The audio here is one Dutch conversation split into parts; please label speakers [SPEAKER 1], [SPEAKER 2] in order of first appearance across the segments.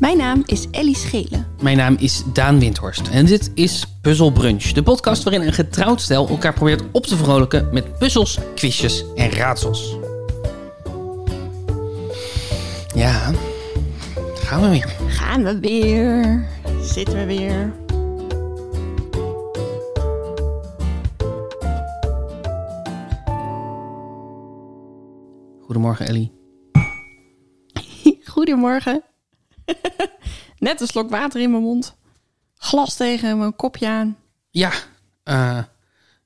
[SPEAKER 1] Mijn naam is Ellie Schelen.
[SPEAKER 2] Mijn naam is Daan Windhorst en dit is Puzzle Brunch, de podcast waarin een getrouwd stel elkaar probeert op te vrolijken met puzzels, quizjes en raadsels. Ja, daar gaan we weer.
[SPEAKER 1] Gaan we weer? Zitten we weer?
[SPEAKER 2] Goedemorgen Ellie.
[SPEAKER 1] Goedemorgen. Net een slok water in mijn mond. Glas tegen mijn kopje aan.
[SPEAKER 2] Ja, eh,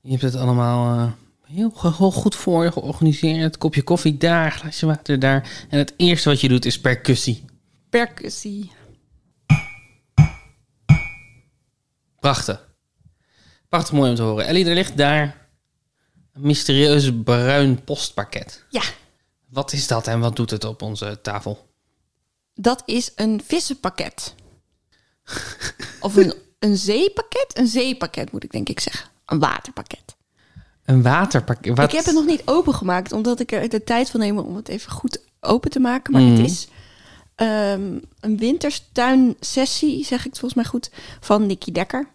[SPEAKER 2] je hebt het allemaal eh, heel, ge- heel goed voor je georganiseerd. Kopje koffie daar, glaasje water daar. En het eerste wat je doet is percussie.
[SPEAKER 1] Percussie.
[SPEAKER 2] Prachtig. Prachtig mooi om te horen. Ellie, er ligt daar een mysterieus bruin postpakket.
[SPEAKER 1] Ja,
[SPEAKER 2] Wat is dat en wat doet het op onze tafel?
[SPEAKER 1] dat is een vissenpakket. of een, een zeepakket? Een zeepakket moet ik denk ik zeggen. Een waterpakket.
[SPEAKER 2] Een waterpakket. Wat?
[SPEAKER 1] Ik heb het nog niet opengemaakt, omdat ik er de tijd wil nemen om het even goed open te maken. Maar het is ehm, een winterstuinsessie, zeg ik het volgens mij goed, van Nicky Dekker.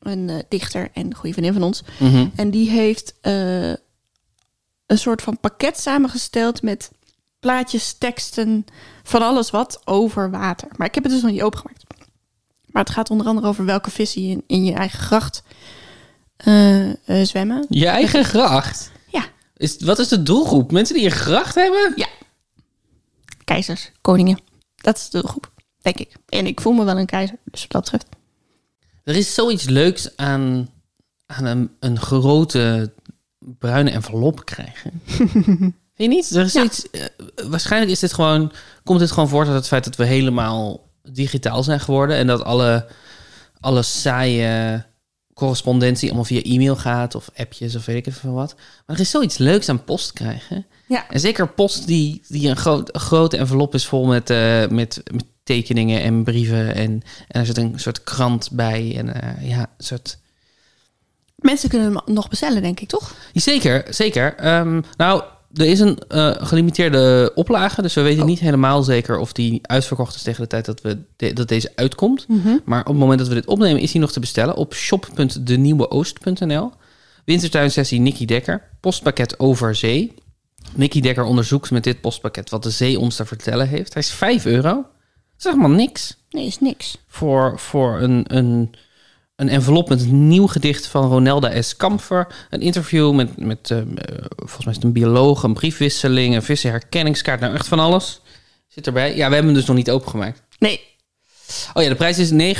[SPEAKER 1] Een eh, dichter en goede vriendin van ons.
[SPEAKER 2] Mhm.
[SPEAKER 1] En die heeft eh, een soort van pakket samengesteld met plaatjes, teksten, van alles wat over water. Maar ik heb het dus nog niet opengemaakt. Maar het gaat onder andere over welke vissen je in, in je eigen gracht eh, eh, zwemmen.
[SPEAKER 2] Je eigen gracht.
[SPEAKER 1] Ja,
[SPEAKER 2] Is, wat is de doelgroep? Mensen die een gracht hebben?
[SPEAKER 1] Ja. Keizers, koningen. Dat is de groep, denk ik. En ik voel me wel een keizer, dus wat dat betreft.
[SPEAKER 2] Er is zoiets leuks aan, aan een, een grote bruine envelop krijgen. Vind je niet? Er is
[SPEAKER 1] Ja.
[SPEAKER 2] zoiets, eh, waarschijnlijk is dit gewoon, komt dit gewoon voort uit het feit dat we helemaal digitaal zijn geworden. En dat alle, alle saaie correspondentie allemaal via e-mail gaat of appjes of weet ik even wat. Maar er is zoiets leuks aan post krijgen.
[SPEAKER 1] Ja.
[SPEAKER 2] En zeker post die, die een, groot, een grote envelop is vol met, eh, met, met tekeningen en brieven. En, en er zit een soort krant bij. En eh, ja, een soort...
[SPEAKER 1] Mensen kunnen hem nog bestellen, denk ik, toch?
[SPEAKER 2] Ja, Zeker, zeker. Ehm, nou, er is een eh, gelimiteerde oplage. Dus we weten
[SPEAKER 1] Oh.
[SPEAKER 2] niet helemaal zeker of die uitverkocht is tegen de tijd dat, we de- dat deze uitkomt.
[SPEAKER 1] Mhm.
[SPEAKER 2] Maar op het moment dat we dit opnemen, is die nog te bestellen op shop.denieuweoost.nl. Wintertuinsessie Nicky Dekker. Postpakket over zee. Nicky Dekker onderzoekt met dit postpakket wat de zee ons te vertellen heeft. Hij is 5 euro. Dat is helemaal niks
[SPEAKER 1] Nee, is niks.
[SPEAKER 2] voor, voor een, een, een envelop met een nieuw gedicht van Ronelda S. Kamfer. Een interview met, met eh, eh, volgens mij is het een bioloog, een briefwisseling, een vissenherkenningskaart. Nou, echt van alles zit erbij. Ja, we hebben hem dus nog niet opengemaakt.
[SPEAKER 1] Nee.
[SPEAKER 2] Oh ja, de prijs is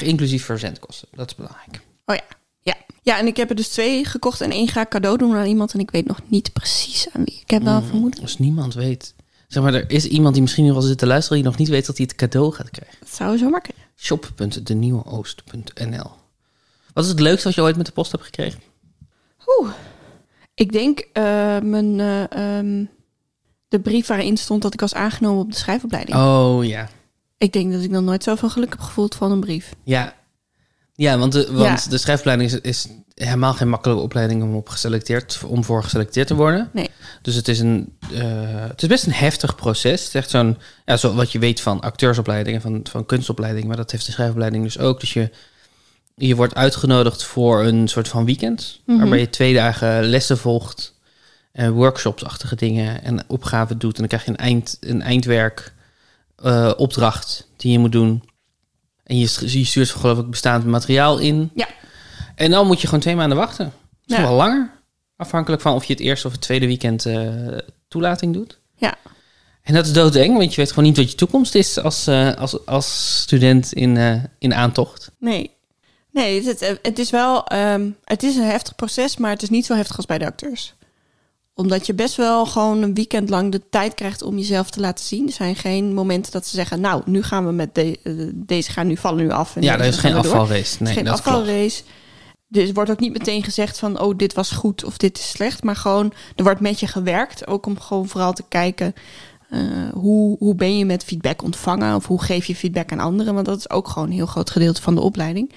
[SPEAKER 2] 9,40 inclusief verzendkosten. Dat is belangrijk.
[SPEAKER 1] Oh ja. ja. Ja, en ik heb er dus twee gekocht en één ga ik cadeau doen aan iemand. En ik weet nog niet precies aan wie. Ik heb wel een vermoeden.
[SPEAKER 2] Als niemand weet. Zeg maar, er is iemand die misschien nu al zit te luisteren... die nog niet weet dat hij het cadeau gaat krijgen.
[SPEAKER 1] Dat zou zomaar kunnen.
[SPEAKER 2] shop.denieuweoost.nl Wat is het leukste wat je ooit met de post hebt gekregen?
[SPEAKER 1] Oeh. Ik denk eh, mijn, eh, ehm, de brief waarin stond dat ik was aangenomen op de schrijfopleiding.
[SPEAKER 2] Oh ja,
[SPEAKER 1] Ik denk dat ik nog nooit zoveel geluk heb gevoeld van een brief.
[SPEAKER 2] Ja, ja want, de, want
[SPEAKER 1] Ja.
[SPEAKER 2] de schrijfopleiding is, is helemaal geen makkelijke opleiding om, op geselecteerd, om voor geselecteerd te worden.
[SPEAKER 1] Nee.
[SPEAKER 2] Dus het is, een, eh, het is best een heftig proces. Het is echt zo'n, ja, zo wat je weet van acteursopleidingen, van, van kunstopleidingen, maar dat heeft de schrijfopleiding dus ook. Dus je, je wordt uitgenodigd voor een soort van weekend,
[SPEAKER 1] Mhm.
[SPEAKER 2] waarbij je twee dagen lessen volgt en workshopsachtige dingen en opgaven doet. En dan krijg je een, eind, een eindwerk eh, opdracht die je moet doen. En je, st- je stuurt geloof ik bestaand materiaal in.
[SPEAKER 1] Ja.
[SPEAKER 2] En dan moet je gewoon twee maanden wachten. Misschien
[SPEAKER 1] Ja.
[SPEAKER 2] wel langer. Afhankelijk van of je het eerste of het tweede weekend eh, toelating doet.
[SPEAKER 1] Ja.
[SPEAKER 2] En dat is doodeng, want je weet gewoon niet wat je toekomst is als, eh, als, als student in, eh, in aantocht.
[SPEAKER 1] Nee. Nee, het, het, het is wel... ehm, het is een heftig proces, maar het is niet zo heftig als bij de acteurs. Omdat je best wel gewoon een weekend lang de tijd krijgt om jezelf te laten zien. Er zijn geen momenten dat ze zeggen... nou, nu gaan we met de, eh, deze gaan nu vallen nu af. En
[SPEAKER 2] ja,
[SPEAKER 1] deze
[SPEAKER 2] dat is
[SPEAKER 1] gaan
[SPEAKER 2] geen
[SPEAKER 1] we door.
[SPEAKER 2] afvalrace.
[SPEAKER 1] Het
[SPEAKER 2] Nee,
[SPEAKER 1] is geen
[SPEAKER 2] dat klopt.
[SPEAKER 1] afvalrace. Dus er wordt ook niet meteen gezegd van... oh, dit was goed of dit is slecht. Maar gewoon, er wordt met je gewerkt. Ook om gewoon vooral te kijken... eh, hoe, hoe ben je met feedback ontvangen? Of hoe geef je feedback aan anderen? Want dat is ook gewoon een heel groot gedeelte van de opleiding.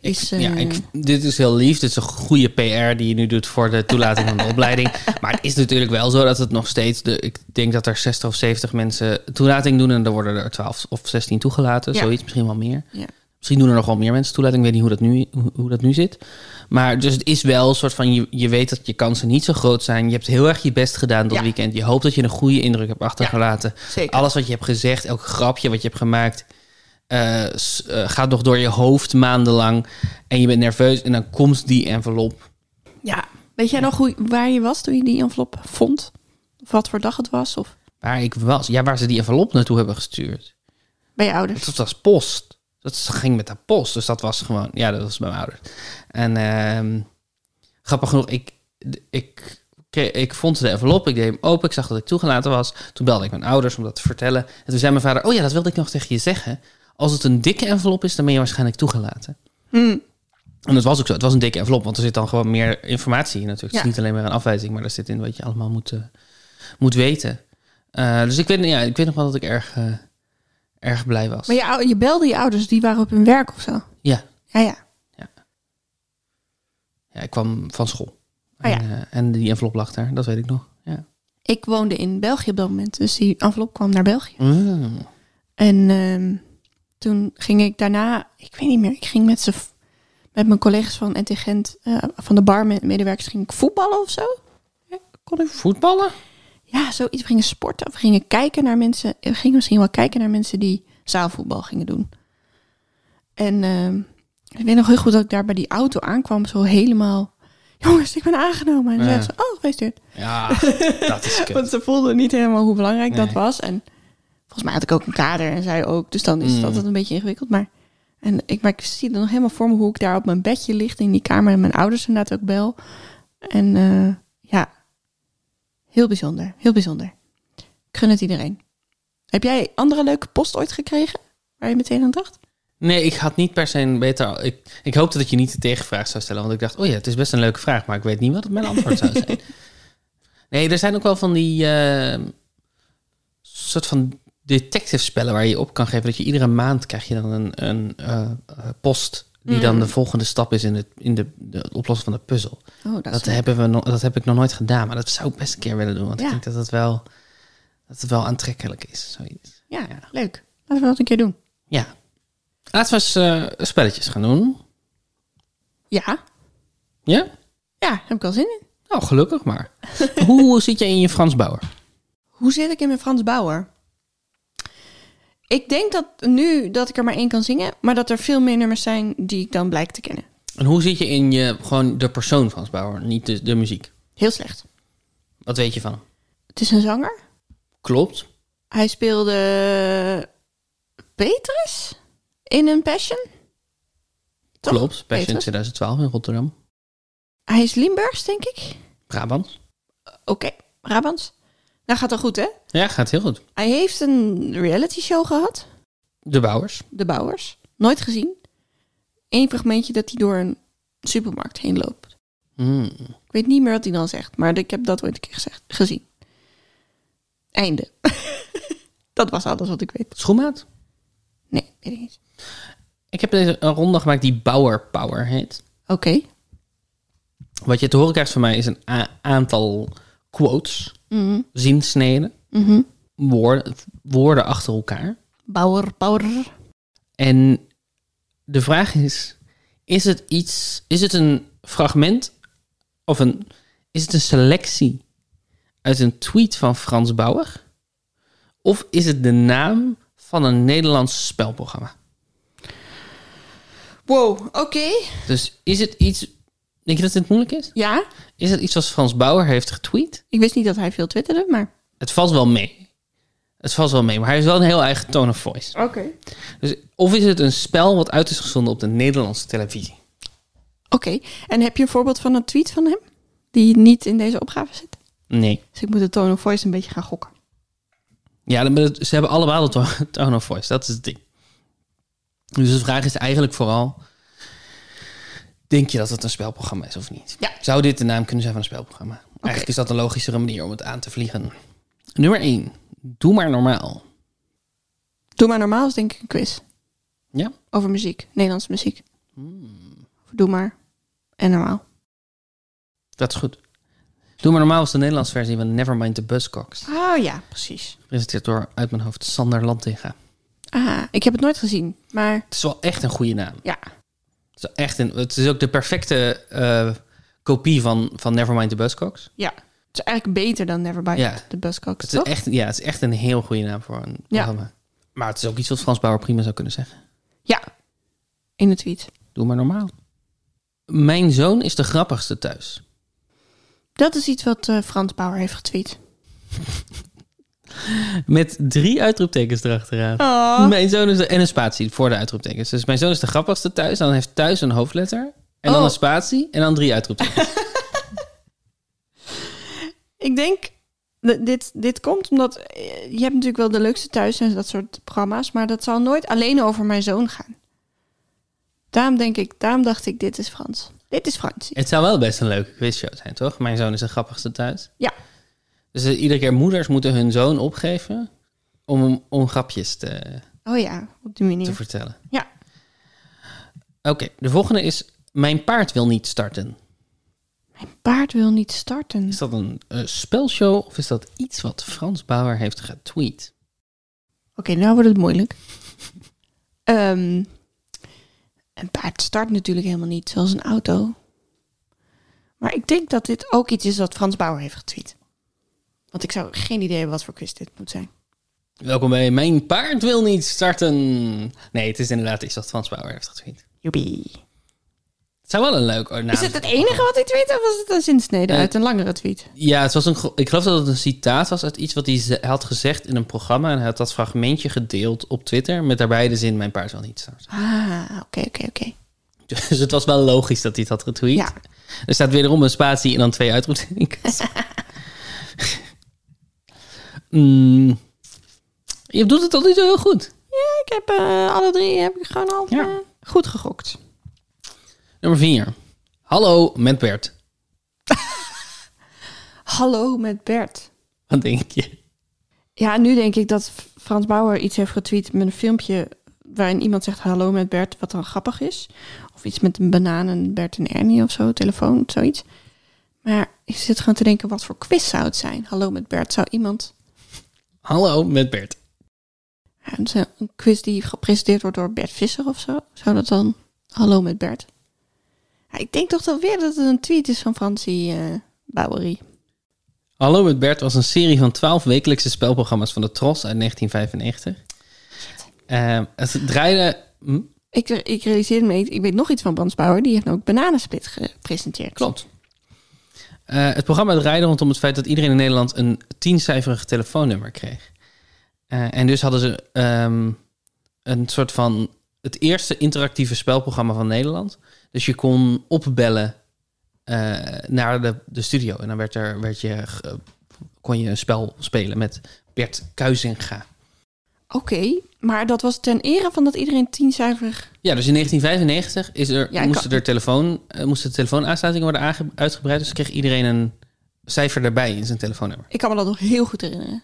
[SPEAKER 1] Is,
[SPEAKER 2] Ja,
[SPEAKER 1] eh,
[SPEAKER 2] ik, dit is heel lief. Dit is een goede PR die je nu doet voor de toelating van de opleiding. Maar het is natuurlijk wel zo dat het nog steeds... De, ik denk dat er 60 of 70 mensen toelating doen... en er worden er 12 of 16 toegelaten.
[SPEAKER 1] Ja.
[SPEAKER 2] Zoiets, misschien wel meer.
[SPEAKER 1] ja.
[SPEAKER 2] Misschien doen er nog wel meer mensen toelating. Ik weet niet hoe dat nu, hoe, hoe dat nu zit. Maar dus het is wel een soort van... Je, je weet dat je kansen niet zo groot zijn. Je hebt heel erg je best gedaan dat
[SPEAKER 1] Ja.
[SPEAKER 2] weekend. Je hoopt dat je een goede indruk hebt achtergelaten.
[SPEAKER 1] Zeker.
[SPEAKER 2] Alles wat je hebt gezegd, elk grapje wat je hebt gemaakt... eh, s- eh, gaat nog door je hoofd maandenlang. En je bent nerveus. En dan komt die envelop.
[SPEAKER 1] ja. Weet jij nog hoe, waar je was toen je die envelop vond? Of wat voor dag het was? Of
[SPEAKER 2] Waar ik was. Ja, waar ze die envelop naartoe hebben gestuurd.
[SPEAKER 1] bij je ouders?
[SPEAKER 2] Dat was post. Dat ging met de post. Dus dat was gewoon... Ja, dat was bij mijn ouders. En ehm, grappig genoeg, ik, ik, ik, ik vond de envelop. Ik deed hem open. Ik zag dat ik toegelaten was. Toen belde ik mijn ouders om dat te vertellen. En toen zei mijn vader... Oh ja, dat wilde ik nog tegen je zeggen. Als het een dikke envelop is, dan ben je waarschijnlijk toegelaten.
[SPEAKER 1] Hm.
[SPEAKER 2] En dat was ook zo. Het was een dikke envelop, want er zit dan gewoon meer informatie in natuurlijk. Het
[SPEAKER 1] Ja.
[SPEAKER 2] is niet alleen maar een afwijzing, maar er zit in wat je allemaal moet, eh, moet weten. Eh, dus ik weet, ja, ik weet nog wel dat ik erg, eh, erg blij was.
[SPEAKER 1] Maar je, ou- je belde je ouders, die waren op hun werk of zo.
[SPEAKER 2] Ja.
[SPEAKER 1] Ja, ja.
[SPEAKER 2] Ja, ik kwam van school.
[SPEAKER 1] Ah, ja.
[SPEAKER 2] en, eh, en die envelop lag daar, dat weet ik nog. Ja.
[SPEAKER 1] Ik woonde in België op dat moment, dus die envelop kwam naar België.
[SPEAKER 2] Mm.
[SPEAKER 1] En ehm, toen ging ik daarna, ik weet niet meer, ik ging met, ze, met mijn collega's van NT Gent, eh, van de barmedewerkers, ging ik voetballen of zo. Ja, Kon ik,
[SPEAKER 2] Voetballen?
[SPEAKER 1] ja, zoiets. We gingen sporten of we gingen kijken naar mensen. We gingen misschien wel kijken naar mensen die zaalvoetbal gingen doen. En ehm, ik weet nog heel goed dat ik daar bij die auto aankwam, zo helemaal... Jongens, ik ben aangenomen. En toen
[SPEAKER 2] Ja.
[SPEAKER 1] zeiden ze, oh, gefeliciteerd.
[SPEAKER 2] Ja, dat is kut.
[SPEAKER 1] Want ze voelden niet helemaal hoe belangrijk dat
[SPEAKER 2] Nee.
[SPEAKER 1] was. En volgens mij had ik ook een kader en zij ook. Dus dan is
[SPEAKER 2] Mm.
[SPEAKER 1] dat altijd een beetje ingewikkeld. Maar, en ik, maar ik zie dan nog helemaal voor me hoe ik daar op mijn bedje ligt in die kamer. En mijn ouders inderdaad ook bel. En eh, ja, heel bijzonder. Heel bijzonder. Ik gun het iedereen. Heb jij andere leuke post ooit gekregen? Waar je meteen aan dacht?
[SPEAKER 2] Nee, ik had niet per se een beter... Ik, ik hoopte dat je niet de tegenvraag zou stellen. Want ik dacht, oh ja, het is best een leuke vraag. Maar ik weet niet wat het mijn antwoord zou zijn. Nee, er zijn ook wel van die... eh, soort van detective spellen waar je op kan geven. Dat je iedere maand krijg je dan een, een eh, eh, post... die
[SPEAKER 1] Mm.
[SPEAKER 2] dan de volgende stap is in, het, in de, de, het oplossen van de puzzel.
[SPEAKER 1] Oh, dat,
[SPEAKER 2] Dat,
[SPEAKER 1] is
[SPEAKER 2] hebben we nog, dat heb ik nog nooit gedaan. Maar dat zou ik best een keer willen doen. Want ik
[SPEAKER 1] Ja.
[SPEAKER 2] denk dat het wel, dat het wel aantrekkelijk is. Zoiets.
[SPEAKER 1] ja,
[SPEAKER 2] ja.
[SPEAKER 1] leuk. Laten we dat een keer doen.
[SPEAKER 2] Ja. Laten we eens eh, spelletjes gaan doen.
[SPEAKER 1] Ja,
[SPEAKER 2] Ja?
[SPEAKER 1] ja, heb ik al zin in.
[SPEAKER 2] Nou, gelukkig maar. Hoe zit je in je Frans Bauer?
[SPEAKER 1] Hoe zit ik in mijn Frans Bauer? Ik denk dat nu dat ik er maar één kan zingen, maar dat er veel meer nummers zijn die ik dan blijk te kennen.
[SPEAKER 2] En hoe zit je in je, gewoon de persoon Frans Bauer, niet de, de muziek?
[SPEAKER 1] Heel slecht.
[SPEAKER 2] Wat weet je van hem?
[SPEAKER 1] Het is een zanger.
[SPEAKER 2] Klopt.
[SPEAKER 1] Hij speelde Petrus in een Passion. Toch?
[SPEAKER 2] Klopt. Passion
[SPEAKER 1] Petrus?
[SPEAKER 2] 2012 in Rotterdam.
[SPEAKER 1] Hij is Limburgs, denk ik.
[SPEAKER 2] Brabant.
[SPEAKER 1] Oké, Brabants. Nou gaat al goed, hè?
[SPEAKER 2] Ja, gaat heel goed.
[SPEAKER 1] Hij heeft een reality show gehad,
[SPEAKER 2] De Bauers.
[SPEAKER 1] De Bouwers. Nooit gezien. Eén fragmentje dat hij door een supermarkt heen loopt.
[SPEAKER 2] Hmm.
[SPEAKER 1] Ik weet niet meer wat hij dan zegt, maar ik heb dat ooit een keer gezegd, gezien. Einde. dat was alles wat ik weet.
[SPEAKER 2] Schoenmaat.
[SPEAKER 1] Nee, weet ik niet.
[SPEAKER 2] Ik heb deze een ronde gemaakt die Bauer Power heet.
[SPEAKER 1] Oké.
[SPEAKER 2] Wat je te horen krijgt van mij is een a- aantal quotes, zinsneden,
[SPEAKER 1] Mhm.
[SPEAKER 2] woorden, woorden achter elkaar.
[SPEAKER 1] Bauer, bauer.
[SPEAKER 2] En de vraag is: is het iets, is het een fragment of een, is het een selectie uit een tweet van Frans Bauer? Of is het de naam van een Nederlands spelprogramma?
[SPEAKER 1] Wow, oké.
[SPEAKER 2] Dus is het iets, denk je dat dit moeilijk is?
[SPEAKER 1] Ja,
[SPEAKER 2] Is het iets wat Frans Bauer heeft getweet?
[SPEAKER 1] ik wist niet dat hij veel twitterde, maar...
[SPEAKER 2] Het valt wel mee. Het valt wel mee, maar hij heeft wel een heel eigen tone of voice.
[SPEAKER 1] Oké.
[SPEAKER 2] Dus, of is het een spel wat uit is gezonden op de Nederlandse televisie?
[SPEAKER 1] Oké, en heb je een voorbeeld van een tweet van hem? Die niet in deze opgave zit?
[SPEAKER 2] Nee.
[SPEAKER 1] Dus ik moet de tone of voice een beetje gaan gokken.
[SPEAKER 2] Ja, dan ben het- ze hebben allemaal de to- tone of voice. Dat is het ding. Dus de vraag is eigenlijk vooral... Denk je dat het een spelprogramma is of niet?
[SPEAKER 1] Ja.
[SPEAKER 2] Zou dit de naam kunnen zijn van een spelprogramma? Eigenlijk is dat een logischere manier om het aan te vliegen. Nummer 1. Doe maar normaal.
[SPEAKER 1] Doe maar normaal is denk ik een quiz.
[SPEAKER 2] Ja?
[SPEAKER 1] Over muziek, Nederlandse muziek. doe maar. En normaal.
[SPEAKER 2] Dat is goed. Doe maar normaal was de Nederlandse versie van Nevermind the Buzzcocks.
[SPEAKER 1] Oh ja, precies.
[SPEAKER 2] Gepresenteerd door uit mijn hoofd Sander Lantinga.
[SPEAKER 1] Ah, ik heb het nooit gezien, maar
[SPEAKER 2] Het is wel echt een goede naam.
[SPEAKER 1] ja.
[SPEAKER 2] Het is, echt een, het is ook de perfecte eh, kopie van, van Nevermind the Buzzcocks.
[SPEAKER 1] ja. Het is eigenlijk beter dan Never By
[SPEAKER 2] Ja.
[SPEAKER 1] de Buzzcocks,
[SPEAKER 2] Het is,
[SPEAKER 1] toch?
[SPEAKER 2] echt, ja, het is echt een heel goede naam voor een programma. Maar het is ook iets wat Frans Bauer prima zou kunnen zeggen.
[SPEAKER 1] Ja. In de tweet.
[SPEAKER 2] Doe maar normaal. Mijn zoon is de grappigste thuis.
[SPEAKER 1] Dat is iets wat eh, Frans Bauer heeft getweet.
[SPEAKER 2] Met drie uitroeptekens erachteraan.
[SPEAKER 1] Oh.
[SPEAKER 2] Mijn zoon is de, en een spatie voor de uitroeptekens. Dus mijn zoon is de grappigste thuis. Dan heeft thuis een hoofdletter. En dan
[SPEAKER 1] Oh.
[SPEAKER 2] een spatie. En dan drie uitroeptekens.
[SPEAKER 1] Ik denk, d- dit, dit komt omdat eh, je hebt natuurlijk wel de leukste thuis en dat soort programma's, maar dat zal nooit alleen over mijn zoon gaan. Daarom denk ik, daarom dacht ik, dit is Frans. Dit is Frans.
[SPEAKER 2] het zou wel best een leuke quizshow zijn, toch? Mijn zoon is de grappigste thuis.
[SPEAKER 1] Ja.
[SPEAKER 2] Dus eh, iedere keer moeders moeten hun zoon opgeven. Om, om grapjes te,
[SPEAKER 1] Oh ja, op die
[SPEAKER 2] te
[SPEAKER 1] manier.
[SPEAKER 2] vertellen.
[SPEAKER 1] Ja.
[SPEAKER 2] Oké, de volgende is... Mijn paard wil niet starten.
[SPEAKER 1] Mijn paard wil niet starten.
[SPEAKER 2] Is dat een eh, spelshow of is dat iets wat Frans Bauer heeft getweet?
[SPEAKER 1] Oké, nou wordt het moeilijk. Ehm, een paard start natuurlijk helemaal niet, zoals een auto. Maar ik denk dat dit ook iets is wat Frans Bauer heeft getweet. Want ik zou geen idee hebben wat voor quiz dit moet zijn.
[SPEAKER 2] Welkom bij Mijn paard wil niet starten. Nee, het is inderdaad iets wat Frans Bauer heeft getweet.
[SPEAKER 1] Joepie.
[SPEAKER 2] Het zou wel een leuk oh, nou, naam
[SPEAKER 1] Is het het enige wat hij tweet of was het een zinsnede
[SPEAKER 2] Nee.
[SPEAKER 1] uit een langere tweet?
[SPEAKER 2] Ja, het was een, gro- ik geloof dat het een citaat was uit iets wat hij ze- had gezegd in een programma. En hij had dat fragmentje gedeeld op Twitter met daarbij de zin mijn paard wil niet starten.
[SPEAKER 1] Ah, oké, oké, oké.
[SPEAKER 2] Dus het was wel logisch dat hij het had getweet.
[SPEAKER 1] Ja.
[SPEAKER 2] Er staat wederom een spatie en dan twee uitroeptekens. Mm. Je doet het tot nu toe heel goed.
[SPEAKER 1] Ja, ik heb eh, alle drie heb ik gewoon al
[SPEAKER 2] Ja.
[SPEAKER 1] eh, goed gegokt.
[SPEAKER 2] Nummer 4. Hallo met Bert.
[SPEAKER 1] Hallo met Bert.
[SPEAKER 2] Wat denk je?
[SPEAKER 1] Ja, nu denk ik dat F- Frans Bauer iets heeft getweet met een filmpje waarin iemand zegt hallo met Bert, wat dan grappig is. Of iets met een banaan en Bert en Ernie of zo, telefoon, zoiets. Maar ik zit gewoon te denken, wat voor quiz zou het zijn? Hallo met Bert, zou iemand...
[SPEAKER 2] Hallo met Bert.
[SPEAKER 1] Ja, het is Een een quiz die gepresenteerd wordt door Bert Visser of zo. Zou dat dan Hallo met Bert? Ja, ik denk toch dan weer dat het een tweet is van Francie eh Bouwerie.
[SPEAKER 2] Hallo met Bert was een serie van twaalf wekelijkse spelprogramma's van de Tros uit 1995. Eh, het draaide... hm,
[SPEAKER 1] Ik, ik realiseer me, ik weet nog iets van Brans Bauer. Die heeft ook Bananensplit gepresenteerd.
[SPEAKER 2] Klopt. Eh, het programma draaide rondom het feit dat iedereen in Nederland een tiencijferig telefoonnummer kreeg. Eh, en dus hadden ze ehm, een soort van het eerste interactieve spelprogramma van Nederland. Dus je kon opbellen eh, naar de, de studio. En dan werd er, werd je, ge- kon je een spel spelen met Bert Kuizinga.
[SPEAKER 1] Oké, maar dat was ten ere van dat iedereen tiencijferig...
[SPEAKER 2] Ja, dus in 1995 is er, eh,
[SPEAKER 1] Ja, ik
[SPEAKER 2] moesten,
[SPEAKER 1] kan-
[SPEAKER 2] Dus
[SPEAKER 1] Ik kan me dat nog heel goed herinneren.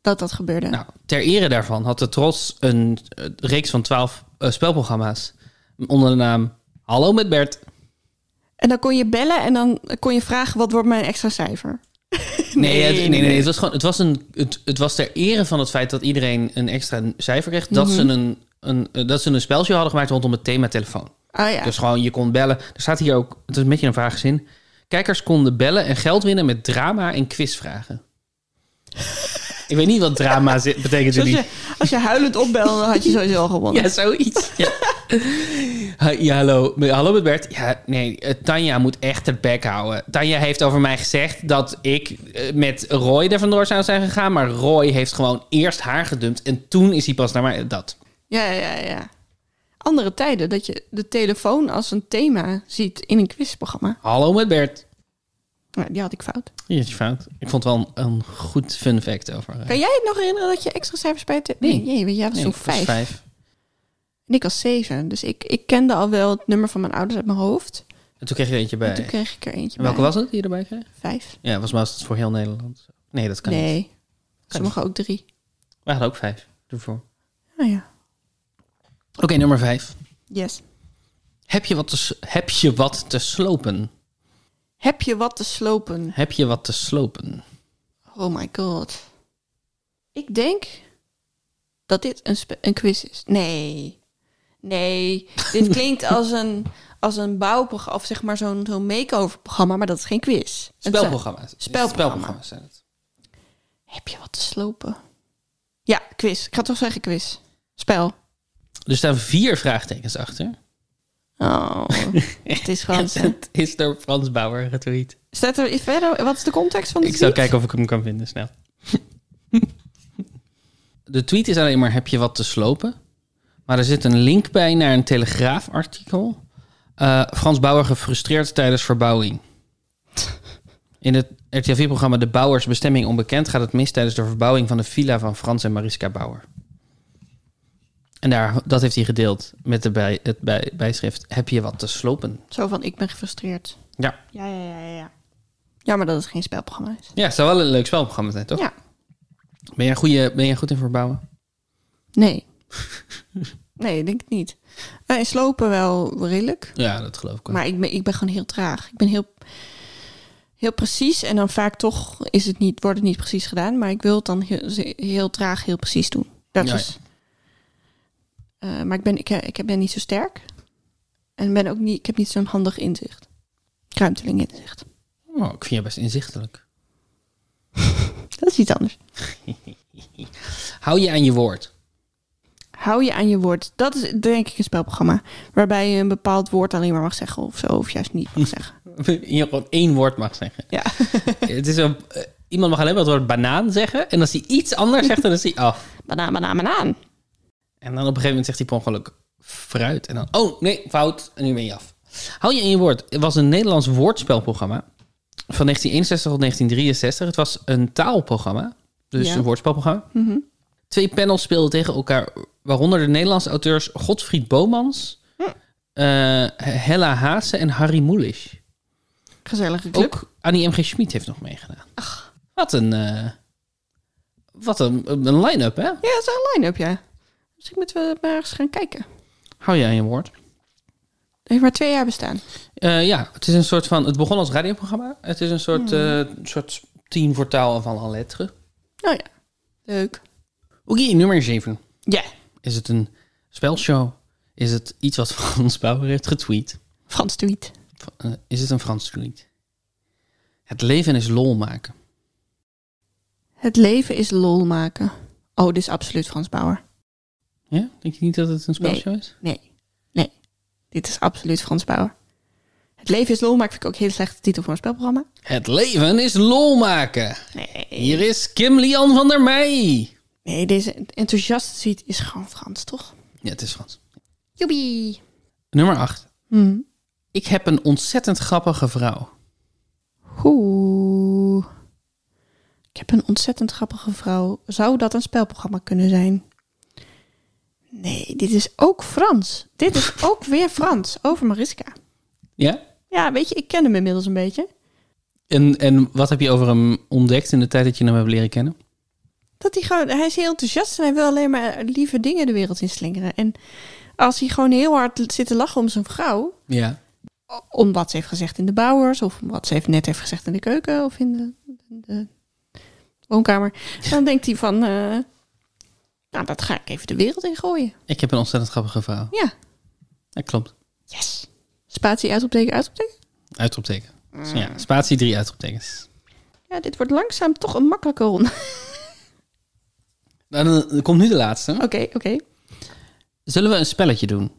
[SPEAKER 1] Dat dat gebeurde.
[SPEAKER 2] Nou, ter ere daarvan had de Tros een eh, reeks van twaalf eh, spelprogramma's onder de naam Hallo met Bert.
[SPEAKER 1] En dan kon je bellen en dan kon je vragen... wat wordt mijn extra cijfer?
[SPEAKER 2] Nee, het, nee, nee, nee, het was gewoon, het was een, het, het was ter ere van het feit dat iedereen een extra cijfer kreeg, dat ze een, een, eh, dat ze een spelshow hadden gemaakt rondom het thema telefoon.
[SPEAKER 1] Ah ja,
[SPEAKER 2] Dus gewoon, je kon bellen. Er staat hier ook, het is een beetje een vage zin. Kijkers konden bellen en geld winnen met drama en quizvragen. Ik weet niet wat drama zi- betekent in
[SPEAKER 1] Dus als
[SPEAKER 2] die
[SPEAKER 1] je, als je huilend opbelde, dan had je sowieso al gewonnen.
[SPEAKER 2] Ja, zoiets. Ja. Ha- ja, hallo. Me- Hallo met Bert. Ja, nee, eh, Tanja moet echt de bek houden. Tanja heeft over mij gezegd dat ik eh, met Roy er vandoor zou zijn gegaan. Maar Roy heeft gewoon eerst haar gedumpt. En toen is hij pas naar mij. Dat.
[SPEAKER 1] Ja, ja, ja. Andere tijden dat je de telefoon als een thema ziet in een quizprogramma.
[SPEAKER 2] Hallo met Bert.
[SPEAKER 1] Nou, die had ik fout.
[SPEAKER 2] Hier is je fout. Ik vond het wel een, een goed fun fact over. eh,
[SPEAKER 1] Kan jij het nog herinneren dat je extra cijfers bij het...
[SPEAKER 2] Nee.
[SPEAKER 1] nee jee, jij was
[SPEAKER 2] nee,
[SPEAKER 1] toen
[SPEAKER 2] ik was
[SPEAKER 1] vijf. En ik was zeven. Dus ik, ik kende al wel het nummer van mijn ouders uit mijn hoofd.
[SPEAKER 2] En toen kreeg je er eentje bij.
[SPEAKER 1] En toen kreeg ik er eentje
[SPEAKER 2] En welke
[SPEAKER 1] bij.
[SPEAKER 2] was het die je erbij kreeg?
[SPEAKER 1] Vijf.
[SPEAKER 2] Ja, volgens mij was het voor heel Nederland. Nee, dat kan niet.
[SPEAKER 1] nee. Sommigen ook drie.
[SPEAKER 2] We hadden ook vijf ervoor.
[SPEAKER 1] Nou ja.
[SPEAKER 2] Oké, nummer vijf.
[SPEAKER 1] Yes.
[SPEAKER 2] Heb je wat te, s- heb je wat te slopen?
[SPEAKER 1] Heb je wat te slopen?
[SPEAKER 2] Heb je wat te slopen?
[SPEAKER 1] Oh my god. Ik denk dat dit een, spe- een quiz is. Nee. Nee. Dit klinkt als een, als een bouwprogramma, of zeg maar zo'n zo'n makeover programma, maar dat is geen quiz. Het zijn-
[SPEAKER 2] Spelprogramma's.
[SPEAKER 1] Spelprogramma.
[SPEAKER 2] Spelprogramma's zijn het.
[SPEAKER 1] Heb je wat te slopen? Ja, quiz. Ik ga toch zeggen quiz. Spel.
[SPEAKER 2] Er staan vier vraagtekens achter.
[SPEAKER 1] Oh, het is gewoon...
[SPEAKER 2] Het is door Frans Bauer getweet.
[SPEAKER 1] Staat er iets verder? Wat is de context van de
[SPEAKER 2] Ik zal
[SPEAKER 1] tweet?
[SPEAKER 2] kijken of ik hem kan vinden snel. De tweet is alleen maar heb je wat te slopen? Maar er zit een link bij naar een Telegraafartikel. Eh Frans Bauer gefrustreerd tijdens verbouwing. In het RTV-programma De Bouwers Bestemming Onbekend gaat het mis tijdens de verbouwing van de villa van Frans en Mariska Bauer. En daar, dat heeft hij gedeeld met de bij, het bij, bijschrift: Heb je wat te slopen?
[SPEAKER 1] Zo van, ik ben gefrustreerd.
[SPEAKER 2] Ja.
[SPEAKER 1] Ja, ja, ja, ja. Jammer dat het geen spelprogramma is.
[SPEAKER 2] Ja, het zou wel een leuk spelprogramma zijn, toch?
[SPEAKER 1] Ja.
[SPEAKER 2] Ben, jij goeie, ben jij goed in verbouwen?
[SPEAKER 1] Nee. nee, ik denk het niet. Eh, in slopen wel redelijk.
[SPEAKER 2] Ja, dat geloof ik wel.
[SPEAKER 1] Maar ik ben, ik ben gewoon heel traag. Ik ben heel, heel precies. En dan vaak toch is het niet, wordt het niet precies gedaan. Maar ik wil het dan heel, heel traag, heel precies doen. Dat
[SPEAKER 2] Ja,
[SPEAKER 1] is. Eh, maar ik ben, ik, ik ben niet zo sterk. En ben ook niet, ik heb niet zo'n handig inzicht. Ruimteling inzicht.
[SPEAKER 2] Oh, ik vind je best inzichtelijk.
[SPEAKER 1] Dat is iets anders.
[SPEAKER 2] Hou je aan je woord.
[SPEAKER 1] Hou je aan je woord. Dat is denk ik een spelprogramma. Waarbij je een bepaald woord alleen maar mag zeggen of zo. Of juist niet mag zeggen.
[SPEAKER 2] Je gewoon één woord mag zeggen.
[SPEAKER 1] Ja.
[SPEAKER 2] Het is een, eh, iemand mag alleen maar het woord banaan zeggen. En als hij iets anders zegt, dan is hij af.
[SPEAKER 1] Banaan, banaan, banaan.
[SPEAKER 2] En dan op een gegeven moment zegt hij per ongeluk fruit. En dan, oh nee, fout. En nu ben je af. Hou je aan je woord. Het was een Nederlands woordspelprogramma. Van 1961 tot 1963. Het was een taalprogramma. Dus
[SPEAKER 1] Ja. Mhm.
[SPEAKER 2] een woordspelprogramma. Twee panels speelden tegen elkaar. Waaronder de Nederlandse auteurs Godfried Bomans.
[SPEAKER 1] Hm.
[SPEAKER 2] eh, Hella Haase en Harry Mulisch.
[SPEAKER 1] Gezellige club.
[SPEAKER 2] Ook Annie M.G. Schmid heeft nog meegedaan. Wat een... eh, wat een, een line-up, hè?
[SPEAKER 1] Oh. Ja, het is een line-up, ja. Dus Misschien moeten we maar eens gaan kijken. Het
[SPEAKER 2] Hou je aan je woord.
[SPEAKER 1] heeft maar twee jaar bestaan.
[SPEAKER 2] Eh, ja, het is een soort van... Het begon als radioprogramma. Het is een soort,
[SPEAKER 1] Hmm.
[SPEAKER 2] eh soort tien voor taal en van alle letteren.
[SPEAKER 1] Oh ja, leuk.
[SPEAKER 2] Oké, nummer 7.
[SPEAKER 1] Ja,
[SPEAKER 2] Is het een spelshow? Is het iets wat Frans Bauer heeft getweet?
[SPEAKER 1] Frans tweet.
[SPEAKER 2] Eh, is het een Frans tweet? Het leven is lol maken.
[SPEAKER 1] Het leven is lol maken. Oh, dit is absoluut Frans Bauer.
[SPEAKER 2] Ja? Denk je niet dat het een spelshow is?
[SPEAKER 1] Nee, nee. Dit is absoluut Frans Bauer. Het leven is lol maken vind ik ook een hele slechte titel voor een spelprogramma.
[SPEAKER 2] Het leven is lol maken.
[SPEAKER 1] Nee,
[SPEAKER 2] Hier is Kim Lian van der Meij.
[SPEAKER 1] nee deze enthousiaste tweet is gewoon Frans, toch?
[SPEAKER 2] Ja, het is Frans.
[SPEAKER 1] Joepie.
[SPEAKER 2] Nummer 8.
[SPEAKER 1] Hm.
[SPEAKER 2] Ik heb een ontzettend grappige vrouw.
[SPEAKER 1] Oeh. Ik heb een ontzettend grappige vrouw. Zou dat een spelprogramma kunnen zijn? Nee, dit is ook Frans. Dit is ook weer Frans over Mariska.
[SPEAKER 2] Ja?
[SPEAKER 1] Ja, weet je, ik ken hem inmiddels een beetje.
[SPEAKER 2] En, en wat heb je over hem ontdekt in de tijd dat je hem hebt leren kennen?
[SPEAKER 1] Dat hij gewoon, hij is heel enthousiast en hij wil alleen maar lieve dingen de wereld in slingeren. En als hij gewoon heel hard zit te lachen om zijn vrouw,
[SPEAKER 2] Ja.
[SPEAKER 1] om wat ze heeft gezegd in de bouwers, of om wat ze heeft net heeft gezegd in de keuken of in de, de woonkamer. Dan denkt hij van, eh, nou, dat ga ik even de wereld in gooien.
[SPEAKER 2] Ik heb een ontzettend grappige vrouw.
[SPEAKER 1] Ja,
[SPEAKER 2] Dat klopt.
[SPEAKER 1] yes. Spatie, uitroepteken, uitroepteken.
[SPEAKER 2] Uitroepteken. Ja, spatie drie uitroeptekens.
[SPEAKER 1] Ja, dit wordt langzaam toch een makkelijke ronde.
[SPEAKER 2] Nou, dan, dan komt nu de laatste.
[SPEAKER 1] Oké, oké.
[SPEAKER 2] Zullen we een spelletje doen?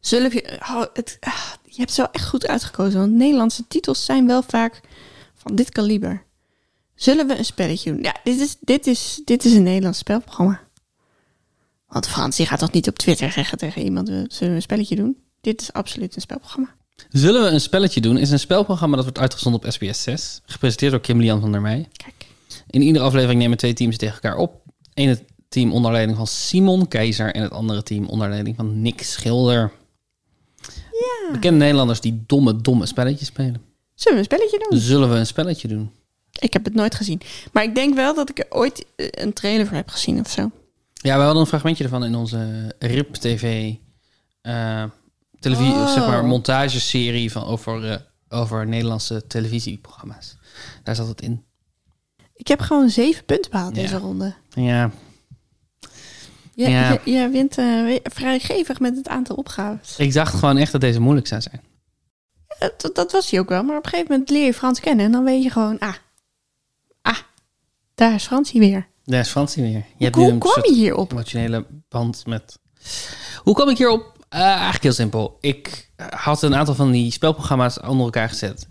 [SPEAKER 1] Zullen we... Oh, het, ah, je hebt zo echt goed uitgekozen, want Nederlandse titels zijn wel vaak van dit kaliber. Zullen we een spelletje doen? Ja, dit is, dit is, dit is een Nederlands spelprogramma. Want Frans, die gaat toch niet op Twitter zeggen tegen iemand, we- zullen we een spelletje doen? Dit is absoluut een spelprogramma.
[SPEAKER 2] Zullen we een spelletje doen is een spelprogramma dat wordt uitgezonden op SBS 6. Gepresenteerd door Kim Lian van der Meij.
[SPEAKER 1] Kijk.
[SPEAKER 2] In iedere aflevering nemen twee teams tegen elkaar op. Eén het team onder leiding van Simon Keizer en het andere team onder leiding van Nick Schilder.
[SPEAKER 1] Ja.
[SPEAKER 2] Bekende Nederlanders die domme, domme spelletjes spelen.
[SPEAKER 1] Zullen we een spelletje doen?
[SPEAKER 2] Zullen we een spelletje doen?
[SPEAKER 1] Ik heb het nooit gezien. Maar ik denk wel dat ik er ooit eh, een trailer voor heb gezien of zo.
[SPEAKER 2] Ja, we hadden een fragmentje ervan in onze RIP TV eh, televisie,
[SPEAKER 1] Oh.
[SPEAKER 2] zeg maar, montageserie van over, eh, over Nederlandse televisieprogramma's. Daar zat het in.
[SPEAKER 1] Ik heb gewoon zeven punten behaald
[SPEAKER 2] Ja.
[SPEAKER 1] deze ronde.
[SPEAKER 2] Ja,
[SPEAKER 1] Je,
[SPEAKER 2] Ja.
[SPEAKER 1] je, je wint eh, we- vrij gevig met het aantal opgaves.
[SPEAKER 2] ik dacht gewoon echt dat deze moeilijk zou zijn.
[SPEAKER 1] Eh, Dat, dat was hij ook wel, maar op een gegeven moment leer je Frans kennen en dan weet je gewoon, ah, ah, daar is Fransie weer.
[SPEAKER 2] Daar is Fransie weer. Je hebt nu
[SPEAKER 1] Hoe
[SPEAKER 2] een
[SPEAKER 1] kwam
[SPEAKER 2] soort
[SPEAKER 1] je hierop?
[SPEAKER 2] emotionele band met... Hoe kwam ik hierop? Eh, eigenlijk heel simpel. Ik eh, had een aantal van die spelprogramma's onder elkaar gezet.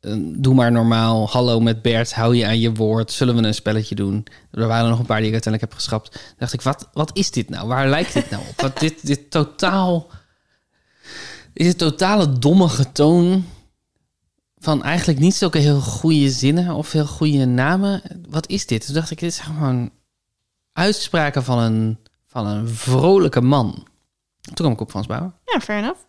[SPEAKER 2] Eh, Doe maar normaal. Hallo met Bert. Hou je aan je woord. Zullen we een spelletje doen? Er waren nog een paar die ik uiteindelijk heb geschrapt. Dan dacht ik, wat, wat is dit nou? Waar lijkt dit nou op? Wat dit, dit totaal... Is het totale domme getoon van eigenlijk niet zulke heel goede zinnen of heel goede namen. Wat is dit? Toen dacht ik, dit is gewoon uitspraken van een, van een vrolijke man. Toen kwam ik op Frans Bauer.
[SPEAKER 1] Ja, fair enough.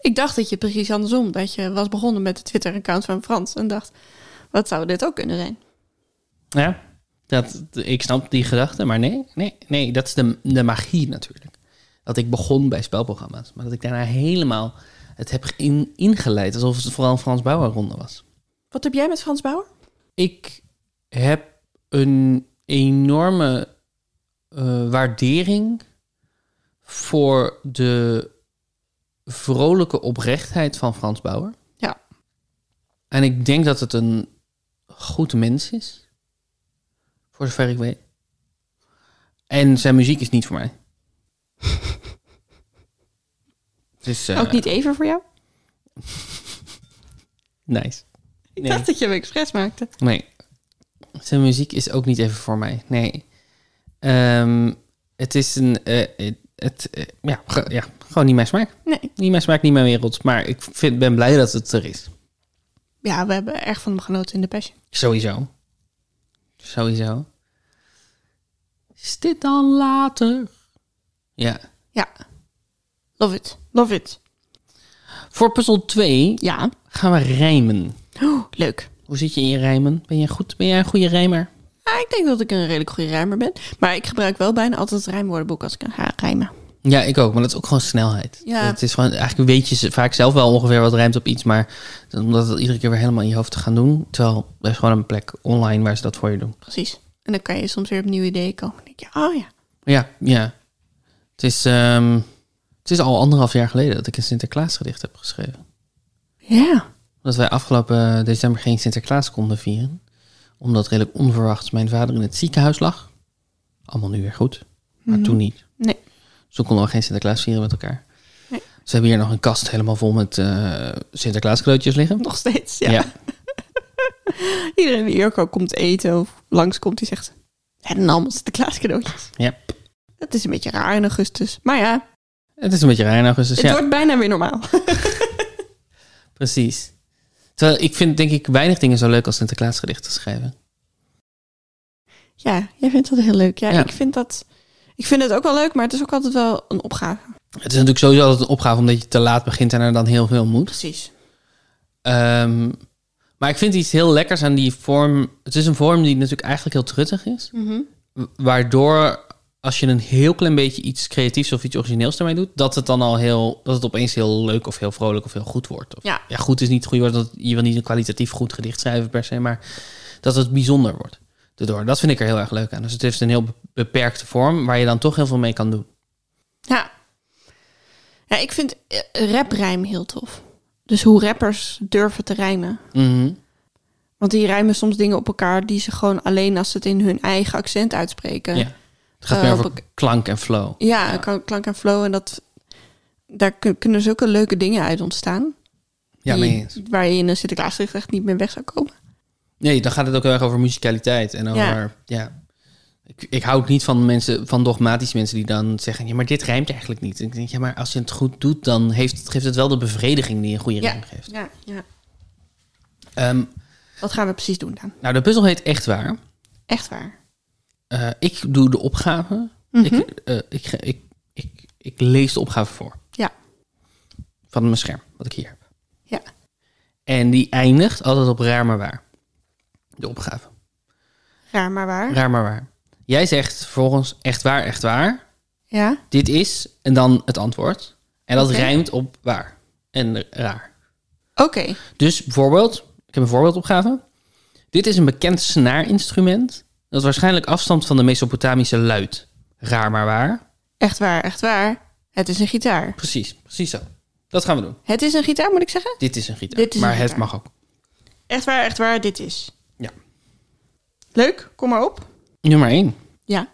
[SPEAKER 1] Ik dacht dat je precies andersom, dat je was begonnen met de Twitter-account van Frans en dacht, wat zou dit ook kunnen zijn?
[SPEAKER 2] Ja, dat, ik snap die gedachte, maar nee, nee, nee, dat is de, de magie natuurlijk. Dat ik begon bij spelprogramma's, maar dat ik daarna helemaal het heb in, ingeleid, alsof het vooral een Frans Bauer ronde was.
[SPEAKER 1] Wat heb jij met Frans Bauer?
[SPEAKER 2] Ik heb een enorme eh, waardering voor de vrolijke oprechtheid van Frans Bauer.
[SPEAKER 1] Ja.
[SPEAKER 2] En ik denk dat het een goed mens is. Voor zover ik weet. En zijn muziek is niet voor mij. dus, eh,
[SPEAKER 1] Ook niet even voor jou?
[SPEAKER 2] Nice.
[SPEAKER 1] Ik
[SPEAKER 2] Nee.
[SPEAKER 1] dacht dat je hem expres maakte.
[SPEAKER 2] Nee. Zijn muziek is ook niet even voor mij. Nee. Ehm, het is een. eh, eh, het, eh, ja, ge- ja, gewoon niet mijn smaak.
[SPEAKER 1] Nee.
[SPEAKER 2] Niet mijn smaak, niet mijn wereld. Maar ik vind, ben blij dat het er is.
[SPEAKER 1] Ja, we hebben erg van hem genoten in de Passion.
[SPEAKER 2] Sowieso. Sowieso. Is dit dan later? Ja.
[SPEAKER 1] Ja. Love it. Love it.
[SPEAKER 2] Voor puzzel 2
[SPEAKER 1] Ja.
[SPEAKER 2] gaan we rijmen.
[SPEAKER 1] Oh, leuk.
[SPEAKER 2] Hoe zit je in je rijmen? Ben, je goed, ben jij een goede rijmer?
[SPEAKER 1] Ah, ik denk dat ik een redelijk goede rijmer ben. Maar ik gebruik wel bijna altijd het rijmwoordenboek als ik ga rijmen.
[SPEAKER 2] Ja, ik ook, maar dat is ook gewoon snelheid.
[SPEAKER 1] Ja.
[SPEAKER 2] Het is gewoon, eigenlijk weet je ze- vaak zelf wel ongeveer wat rijmt op iets, maar omdat het iedere keer weer helemaal in je hoofd te gaan doen, terwijl er is gewoon een plek online waar ze dat voor je doen.
[SPEAKER 1] Precies. En dan kan je soms weer op nieuwe ideeën komen. Dan denk je, oh ja.
[SPEAKER 2] Ja, ja. Het is, ehm, het is al anderhalf jaar geleden dat ik een Sinterklaasgedicht heb geschreven.
[SPEAKER 1] Ja.
[SPEAKER 2] Omdat wij afgelopen eh, december geen Sinterklaas konden vieren, omdat redelijk onverwachts mijn vader in het ziekenhuis lag. Allemaal nu weer goed, maar toen niet.
[SPEAKER 1] Mhm. Nee.
[SPEAKER 2] Dus toen konden we geen Sinterklaas vieren met elkaar.
[SPEAKER 1] Nee.
[SPEAKER 2] Ze hebben hier nog een kast helemaal vol met eh Sinterklaas cadeautjes liggen.
[SPEAKER 1] Nog steeds, ja. Iedereen die hier ook al komt eten of langskomt, die zegt... En dan allemaal Sinterklaas cadeautjes.
[SPEAKER 2] Ja.
[SPEAKER 1] Dat is een beetje raar in augustus. Maar ja,
[SPEAKER 2] Het is een beetje raar in augustus.
[SPEAKER 1] het
[SPEAKER 2] Dus ja,
[SPEAKER 1] wordt bijna weer normaal.
[SPEAKER 2] precies. Terwijl ik vind denk ik weinig dingen zo leuk als Sinterklaas gedichten schrijven.
[SPEAKER 1] Ja, jij vindt dat heel leuk. Ja,
[SPEAKER 2] Ja.
[SPEAKER 1] ik vind dat. Ik vind het ook wel leuk, maar het is ook altijd wel een opgave.
[SPEAKER 2] Het is natuurlijk sowieso altijd een opgave omdat je te laat begint en er dan heel veel moet.
[SPEAKER 1] Precies.
[SPEAKER 2] Ehm, maar ik vind iets heel lekkers aan die vorm. Het is een vorm die natuurlijk eigenlijk heel truttig is.
[SPEAKER 1] Mhm.
[SPEAKER 2] wa- waardoor als je een heel klein beetje iets creatiefs of iets origineels ermee doet, dat het dan al heel, dat het opeens heel leuk of heel vrolijk of heel goed wordt. Of,
[SPEAKER 1] Ja.
[SPEAKER 2] goed is niet het goede woord, want je wil niet een kwalitatief goed gedicht schrijven per se, maar dat het bijzonder wordt. Daardoor. Dat vind ik er heel erg leuk aan. Dus het heeft een heel be- beperkte vorm waar je dan toch heel veel mee kan doen.
[SPEAKER 1] Ja. ja. Ik vind eh, raprijm heel tof. Dus hoe rappers durven te rijmen. Mhm. Want die rijmen soms dingen op elkaar die ze gewoon alleen als ze het in hun eigen accent uitspreken.
[SPEAKER 2] Ja. Het gaat
[SPEAKER 1] Eh,
[SPEAKER 2] meer
[SPEAKER 1] op
[SPEAKER 2] over klank en flow.
[SPEAKER 1] Ja, kan- klank en flow. En dat, daar kun- kunnen zulke leuke dingen uit ontstaan.
[SPEAKER 2] Ja,
[SPEAKER 1] die-
[SPEAKER 2] mee eens.
[SPEAKER 1] Waar je in een Sinterklaasgedicht echt niet meer weg zou komen.
[SPEAKER 2] Nee, dan gaat het ook heel erg over musicaliteit en over.
[SPEAKER 1] Ja.
[SPEAKER 2] Ja. Ik, ik hou ook niet van mensen, van dogmatische mensen die dan zeggen: ja, maar dit rijmt eigenlijk niet. En ik denk, ja, maar als je het goed doet, dan heeft, het- geeft het wel de bevrediging die een goede
[SPEAKER 1] Ja.
[SPEAKER 2] rijm geeft.
[SPEAKER 1] Ja, ja.
[SPEAKER 2] Ehm,
[SPEAKER 1] Wat gaan we precies doen dan?
[SPEAKER 2] nou, de puzzel heet echt waar.
[SPEAKER 1] Echt waar.
[SPEAKER 2] Eh, ik doe de opgave.
[SPEAKER 1] Mhm.
[SPEAKER 2] ik, eh, ik, ge- ik, ik, ik lees de opgave voor
[SPEAKER 1] Ja.
[SPEAKER 2] van mijn scherm, wat ik hier heb.
[SPEAKER 1] Ja.
[SPEAKER 2] En die eindigt altijd op raar maar waar. De opgave.
[SPEAKER 1] Raar maar waar.
[SPEAKER 2] Raar maar waar. Jij zegt vervolgens echt waar, echt waar.
[SPEAKER 1] Ja.
[SPEAKER 2] dit is, en dan het antwoord. En dat
[SPEAKER 1] Oké.
[SPEAKER 2] rijmt op waar en raar.
[SPEAKER 1] Oké.
[SPEAKER 2] Dus bijvoorbeeld, ik heb een voorbeeldopgave. Dit is een bekend snaarinstrument dat waarschijnlijk afstamt van de Mesopotamische luid. Raar maar waar.
[SPEAKER 1] Echt waar, echt waar. Het is een gitaar.
[SPEAKER 2] Precies, precies zo. Dat gaan we doen.
[SPEAKER 1] Het is een gitaar, moet ik zeggen?
[SPEAKER 2] Dit is een gitaar,
[SPEAKER 1] Dit is
[SPEAKER 2] maar
[SPEAKER 1] een
[SPEAKER 2] het
[SPEAKER 1] gitaar.
[SPEAKER 2] mag ook.
[SPEAKER 1] Echt waar, echt waar, dit is.
[SPEAKER 2] Ja.
[SPEAKER 1] Leuk, kom maar op.
[SPEAKER 2] Nummer 1.
[SPEAKER 1] Ja.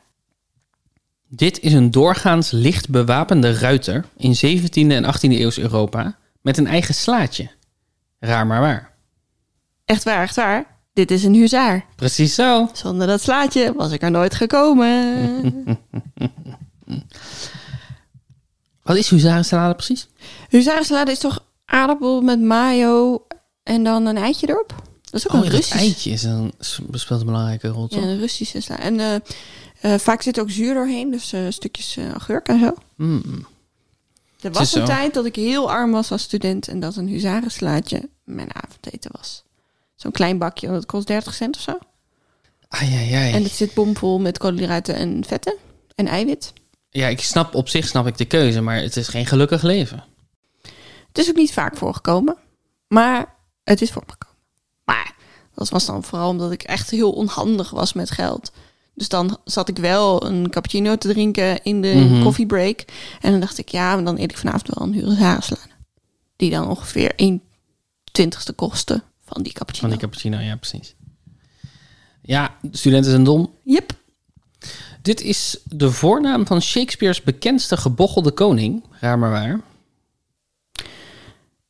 [SPEAKER 2] Dit is een doorgaans licht bewapende ruiter in 17e en 18e eeuws Europa met een eigen slaatje. Raar maar waar.
[SPEAKER 1] Echt waar, echt waar, dit is een huzaar.
[SPEAKER 2] Precies zo.
[SPEAKER 1] Zonder dat slaatje was ik er nooit gekomen.
[SPEAKER 2] Wat is huzarensalade precies?
[SPEAKER 1] Huzarensalade is toch aardappel met mayo en dan een eitje erop? Dat is ook
[SPEAKER 2] Oh,
[SPEAKER 1] een
[SPEAKER 2] ja, dat
[SPEAKER 1] Russisch.
[SPEAKER 2] eitje is een, speelt een belangrijke rol,
[SPEAKER 1] Ja,
[SPEAKER 2] toch?
[SPEAKER 1] een Russische sla. En eh, eh, vaak zit ook zuur doorheen, dus eh, stukjes eh, agurk en zo.
[SPEAKER 2] Mm.
[SPEAKER 1] Er
[SPEAKER 2] is
[SPEAKER 1] was een
[SPEAKER 2] zo.
[SPEAKER 1] tijd dat ik heel arm was als student en dat een huzarenslaatje mijn avondeten was. Zo'n klein bakje, want dat kost 30 cent of zo.
[SPEAKER 2] Ai, ai, ai.
[SPEAKER 1] En het zit bomvol met koolhydraten en vetten en eiwit.
[SPEAKER 2] Ja, ik snap op zich snap ik de keuze, maar het is geen gelukkig leven.
[SPEAKER 1] Het is ook niet vaak voorgekomen, maar het is voorgekomen. Maar dat was dan vooral omdat ik echt heel onhandig was met geld. Dus dan zat ik wel een cappuccino te drinken in de
[SPEAKER 2] Mhm.
[SPEAKER 1] koffiebreak. En dan dacht ik, ja, maar dan eet ik vanavond wel een huzarensalade. Die dan ongeveer 1 twintigste kostte van die cappuccino.
[SPEAKER 2] Van die cappuccino, oh ja, precies. Ja, studenten zijn dom.
[SPEAKER 1] Yep.
[SPEAKER 2] Dit is de voornaam van Shakespeare's bekendste gebochelde koning. Raar maar waar.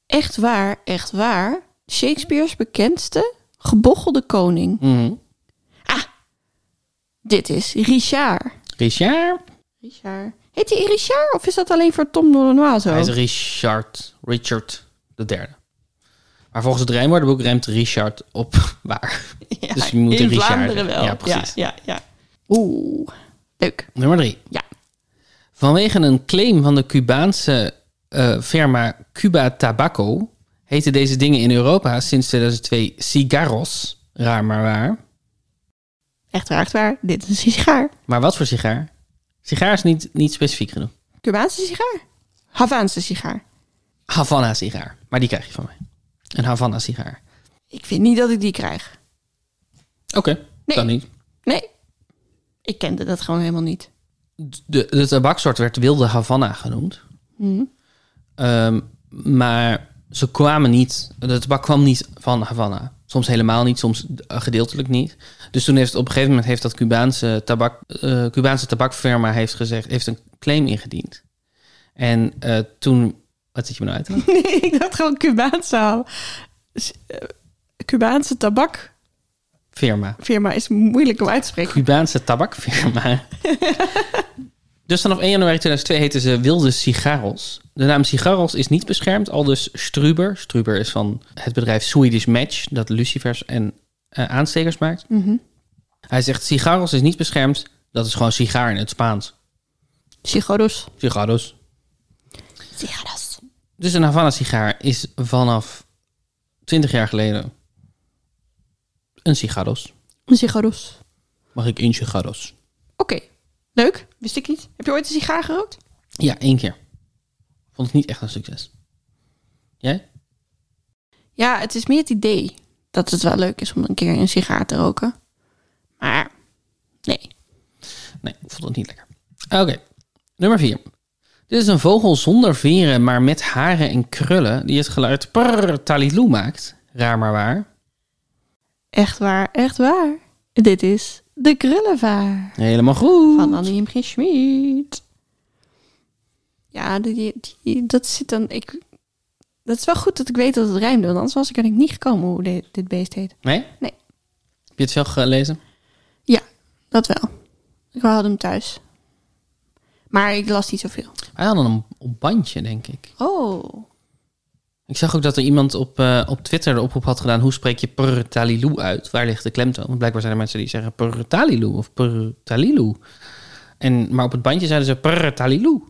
[SPEAKER 1] Echt waar, echt waar. Shakespeare's bekendste gebochelde koning.
[SPEAKER 2] Mhm.
[SPEAKER 1] Dit is Richard.
[SPEAKER 2] Richard?
[SPEAKER 1] Richard. Heet hij Richard of is dat alleen voor Tom Noornois zo?
[SPEAKER 2] Hij is Richard. Richard de derde. Maar volgens het rijmwoordenboek rijmt Richard op waar.
[SPEAKER 1] Ja,
[SPEAKER 2] Dus je moet
[SPEAKER 1] in
[SPEAKER 2] een Richard
[SPEAKER 1] Vlaanderen
[SPEAKER 2] zeggen.
[SPEAKER 1] wel.
[SPEAKER 2] Ja, precies.
[SPEAKER 1] Ja, ja, ja. Oeh, leuk.
[SPEAKER 2] Nummer drie.
[SPEAKER 1] Ja.
[SPEAKER 2] Vanwege een claim van de Cubaanse eh, firma Cuba Tabaco heten deze dingen in Europa sinds 2002 cigarros. Raar maar waar.
[SPEAKER 1] Echt waar, echt waar. Dit is een sigaar.
[SPEAKER 2] Maar wat voor sigaar? Sigaar is niet, niet specifiek genoeg.
[SPEAKER 1] Cubaanse sigaar. Havaanse sigaar.
[SPEAKER 2] Havana sigaar. Maar die krijg je van mij. Een Havana sigaar.
[SPEAKER 1] Ik vind niet dat ik die krijg.
[SPEAKER 2] Oké,
[SPEAKER 1] Nee.
[SPEAKER 2] kan niet.
[SPEAKER 1] Nee. Ik kende dat gewoon helemaal niet.
[SPEAKER 2] De, de tabaksoort werd wilde Havana genoemd.
[SPEAKER 1] Hm.
[SPEAKER 2] Ehm, maar ze kwamen niet, de tabak kwam niet van Havana. Soms helemaal niet, soms eh, gedeeltelijk niet. Dus toen heeft op een gegeven moment heeft dat Cubaanse, tabak, eh, Cubaanse tabakfirma heeft gezegd, heeft een claim ingediend. En eh, toen, wat zit je me nou uit? te lachen?
[SPEAKER 1] Nee, ik dacht gewoon Cubaanse. ha- s- eh, Cubaanse tabakfirma
[SPEAKER 2] Firma.
[SPEAKER 1] is moeilijk om uit te spreken.
[SPEAKER 2] Cubaanse tabakfirma. dus vanaf 1 januari 2002 heten ze wilde sigarros. De naam sigarros is niet beschermd, al dus Struber. Struber is van het bedrijf Swedish Match, dat lucifers en eh, aanstekers maakt. Hij zegt, sigarros is niet beschermd, dat is gewoon sigaar in het Spaans.
[SPEAKER 1] Sigaros.
[SPEAKER 2] Cigarros.
[SPEAKER 1] Sigaros.
[SPEAKER 2] Dus een Havana-sigaar is vanaf 20 jaar geleden een sigarros.
[SPEAKER 1] Sigaros.
[SPEAKER 2] Mag ik één sigarros?
[SPEAKER 1] Oké, leuk. Wist ik niet. Heb je ooit een sigaar gerookt?
[SPEAKER 2] Ja, één keer. Vond het niet echt een succes. Jij?
[SPEAKER 1] Ja, het is meer het idee dat het wel leuk is om een keer een sigaar te roken. Maar nee.
[SPEAKER 2] Nee, ik vond het niet lekker. Oké, nummer 4. Dit is een vogel zonder veren, maar met haren en krullen... die het geluid prrr taliloe maakt. Raar maar waar.
[SPEAKER 1] Echt waar, echt waar. Dit is de krullenvaar
[SPEAKER 2] Helemaal goed.
[SPEAKER 1] van Annie M. G. Schmid. Ja, die, die- dat zit dan... Ik, dat is wel goed dat ik weet dat het rijmde, want anders was ik er denk ik niet gekomen hoe dit, dit beest heet.
[SPEAKER 2] Nee?
[SPEAKER 1] Nee.
[SPEAKER 2] Heb je het veel gelezen?
[SPEAKER 1] Ja, dat wel. Ik had hem thuis. Maar ik las niet zoveel.
[SPEAKER 2] Wij hadden hem op bandje, denk ik.
[SPEAKER 1] Oh,
[SPEAKER 2] Ik zag ook dat er iemand op, eh, op Twitter de oproep had gedaan... hoe spreek je prrr taliloe uit? Waar ligt de klemtoon? Want blijkbaar zijn er mensen die zeggen prrr taliloe of prrr taliloe. En, maar op het bandje zeiden ze prrr taliloe.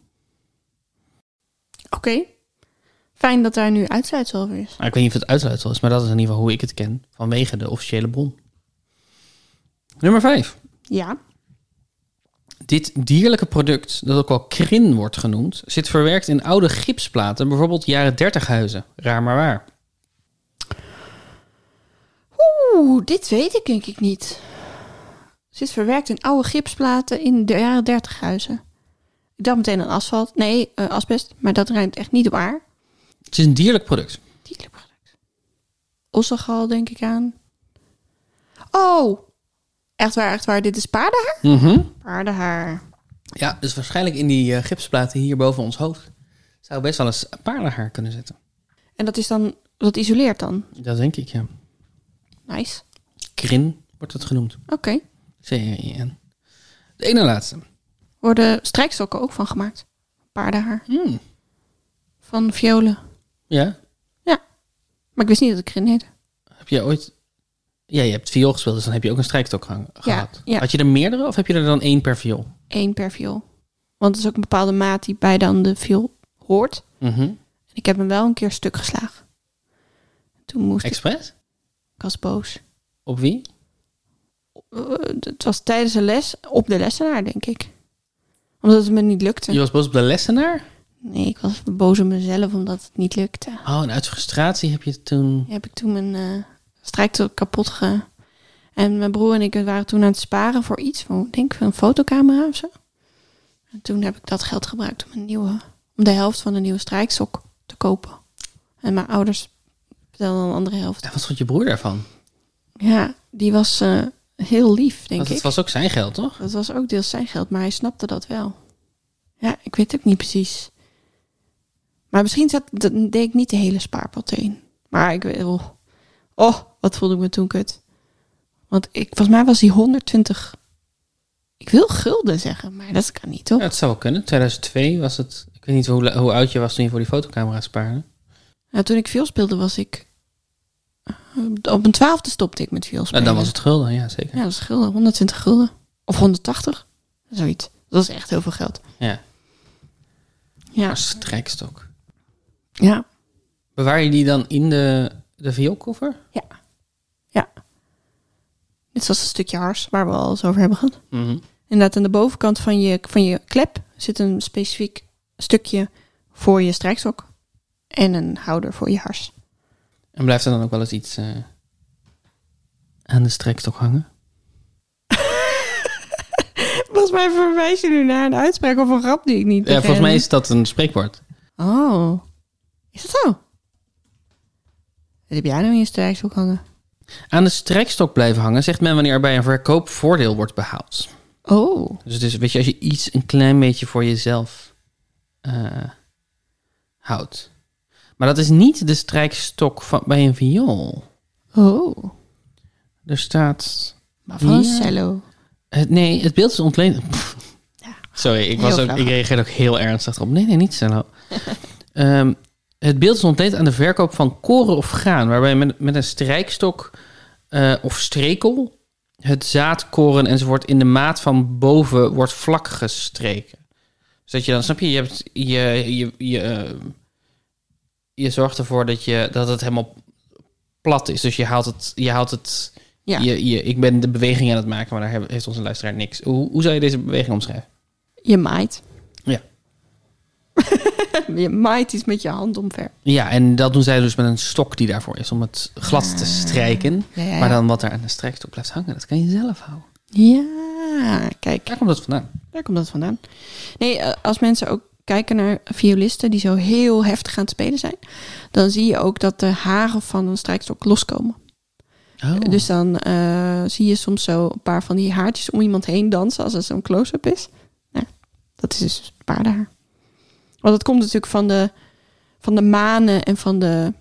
[SPEAKER 1] oké. Fijn dat daar nu uitsluitsel over is.
[SPEAKER 2] Maar Nou, ik weet niet of het uitsluitsel is, maar dat is in ieder geval hoe ik het ken. Vanwege de officiële bron. Nummer 5.
[SPEAKER 1] Ja.
[SPEAKER 2] Dit dierlijke product, dat ook wel krin wordt genoemd, zit verwerkt in oude gipsplaten, bijvoorbeeld jaren 30 huizen. Raar maar waar.
[SPEAKER 1] Oeh, dit weet ik denk ik niet. Zit verwerkt in oude gipsplaten in de jaren 30 huizen. Ik dacht meteen aan asfalt. Nee, eh, asbest. Maar dat ruimt echt niet op aard.
[SPEAKER 2] Het is een dierlijk product.
[SPEAKER 1] Dierlijk product. Ossegal denk ik aan. Oh, echt waar, echt waar. Dit is paardenhaar?
[SPEAKER 2] Mhm.
[SPEAKER 1] Paardenhaar.
[SPEAKER 2] Ja, dus waarschijnlijk in die eh, gipsplaten hier boven ons hoofd zou best wel eens paardenhaar kunnen zitten.
[SPEAKER 1] En dat is dan, dat isoleert dan.
[SPEAKER 2] Dat denk ik, ja.
[SPEAKER 1] Nice.
[SPEAKER 2] Krin wordt het genoemd.
[SPEAKER 1] Oké.
[SPEAKER 2] C-R-I-N. De ene laatste.
[SPEAKER 1] Worden strijkstokken ook van gemaakt? Paardenhaar.
[SPEAKER 2] Hmm,
[SPEAKER 1] Van violen.
[SPEAKER 2] Ja,
[SPEAKER 1] Maar ik wist niet dat ik erin heette.
[SPEAKER 2] heb jij ooit... Ja, je hebt viool gespeeld, dus dan heb je ook een strijkstok gehang- gehad.
[SPEAKER 1] ja.
[SPEAKER 2] Had je er meerdere of heb je er dan één per viool?
[SPEAKER 1] Eén per viool. Want het is ook een bepaalde maat die bij dan de viool hoort.
[SPEAKER 2] Mhm.
[SPEAKER 1] En ik heb hem wel een keer stuk geslagen. Toen moest ik,
[SPEAKER 2] Expres?
[SPEAKER 1] ik was boos.
[SPEAKER 2] Op wie?
[SPEAKER 1] Eh, Het was tijdens een les, op de lessenaar denk ik. Omdat het me niet lukte.
[SPEAKER 2] Je was boos op de lessenaar?
[SPEAKER 1] Nee, ik was boos op mezelf omdat het niet lukte.
[SPEAKER 2] Oh, en uit frustratie heb je toen...
[SPEAKER 1] heb ik toen mijn eh strijktok kapot ge... En mijn broer en ik waren toen aan het sparen voor iets. Voor, ik denk voor een fotocamera of zo. En toen heb ik dat geld gebruikt om, een nieuwe, om de helft van een nieuwe strijkstok te kopen. En mijn ouders betaalden dan de andere helft.
[SPEAKER 2] En wat vond je broer daarvan?
[SPEAKER 1] Ja, die was eh, heel lief, denk
[SPEAKER 2] Want
[SPEAKER 1] ik.
[SPEAKER 2] het was ook zijn geld, toch?
[SPEAKER 1] Dat was ook deels zijn geld, maar hij snapte dat wel. Ja, ik weet ook niet precies. Maar misschien zat, dat deed ik niet de hele spaarpot in. Maar ik weet oh, oh, wat voelde ik me toen kut. Want ik, volgens mij was die 120. Ik wil gulden zeggen, maar dat kan niet, toch?
[SPEAKER 2] Ja, het zou wel kunnen. 2002 was het... Ik weet niet hoe, la- hoe oud je was toen je voor die fotocamera spaarde.
[SPEAKER 1] Nou, toen ik veel speelde, was ik... eh, Op mijn twaalfde stopte ik met veel
[SPEAKER 2] Nou,
[SPEAKER 1] spelen.
[SPEAKER 2] dan was het gulden, ja, zeker.
[SPEAKER 1] Ja, dat is gulden. 120 gulden. Of 180. Zoiets. Dat is echt heel veel geld.
[SPEAKER 2] Ja.
[SPEAKER 1] Ja.
[SPEAKER 2] Maar strijkstok.
[SPEAKER 1] Ja.
[SPEAKER 2] Bewaar je die dan in de, de vioolkoffer?
[SPEAKER 1] Ja. Ja. Dit was een stukje hars waar we al eens over hebben gehad.
[SPEAKER 2] Mhm.
[SPEAKER 1] Inderdaad, aan de bovenkant van je, van je klep zit een specifiek stukje voor je strijkstok. En een houder voor je hars.
[SPEAKER 2] En blijft er dan ook wel eens iets eh, aan de strijkstok hangen?
[SPEAKER 1] Volgens mij verwijs je nu naar een uitspraak of een grap die ik niet
[SPEAKER 2] Ja, volgens mij is dat een spreekwoord.
[SPEAKER 1] Oh. Is dat zo? Wat heb jij nou in je strijkstok hangen?
[SPEAKER 2] Aan de strijkstok blijven hangen zegt men wanneer er bij een verkoop voordeel wordt behaald.
[SPEAKER 1] Oh.
[SPEAKER 2] Dus het is, weet je, als je iets een klein beetje voor jezelf eh, houdt. Maar dat is niet de strijkstok van, bij een viool.
[SPEAKER 1] Oh.
[SPEAKER 2] Er staat...
[SPEAKER 1] Maar van een
[SPEAKER 2] Ja.
[SPEAKER 1] cello.
[SPEAKER 2] Het, Eh, nee, het beeld is ontleend.
[SPEAKER 1] Ja.
[SPEAKER 2] Sorry, ik,
[SPEAKER 1] Heel
[SPEAKER 2] was ook,
[SPEAKER 1] flauw.
[SPEAKER 2] ik reageerde ook heel ernstig op. Nee, nee, niet cello. Ehm, het beeld is ontleend aan de verkoop van koren of graan, waarbij met, met een strijkstok eh, of strekel het zaadkoren enzovoort in de maat van boven wordt vlak gestreken. Dus dat je dan, snap je, je, hebt, je, je, je, eh, je zorgt ervoor dat, je, dat het helemaal plat is. Dus je haalt het, je haalt het
[SPEAKER 1] Ja.
[SPEAKER 2] je, je, ik ben de beweging aan het maken, maar daar heb- heeft onze luisteraar niks. Hoe, hoe zou je deze beweging omschrijven?
[SPEAKER 1] Je maait.
[SPEAKER 2] Ja.
[SPEAKER 1] je maait iets met je hand omver.
[SPEAKER 2] Ja, en dat doen zij dus met een stok die daarvoor is om het glad te strijken.
[SPEAKER 1] Ah. Ja, ja, ja.
[SPEAKER 2] Maar dan wat er aan de strijkstok blijft hangen, dat kan je zelf houden.
[SPEAKER 1] Ja, kijk,
[SPEAKER 2] Daar komt dat vandaan.
[SPEAKER 1] daar komt dat vandaan. Nee, eh, als mensen ook kijken naar violisten die zo heel heftig aan het spelen zijn, dan zie je ook dat de haren van een strijkstok loskomen.
[SPEAKER 2] Oh.
[SPEAKER 1] Dus dan eh, zie je soms zo een paar van die haartjes om iemand heen dansen als het zo'n close-up is. Nou, dat is dus paardenhaar. Want dat komt natuurlijk van de, van de manen en van de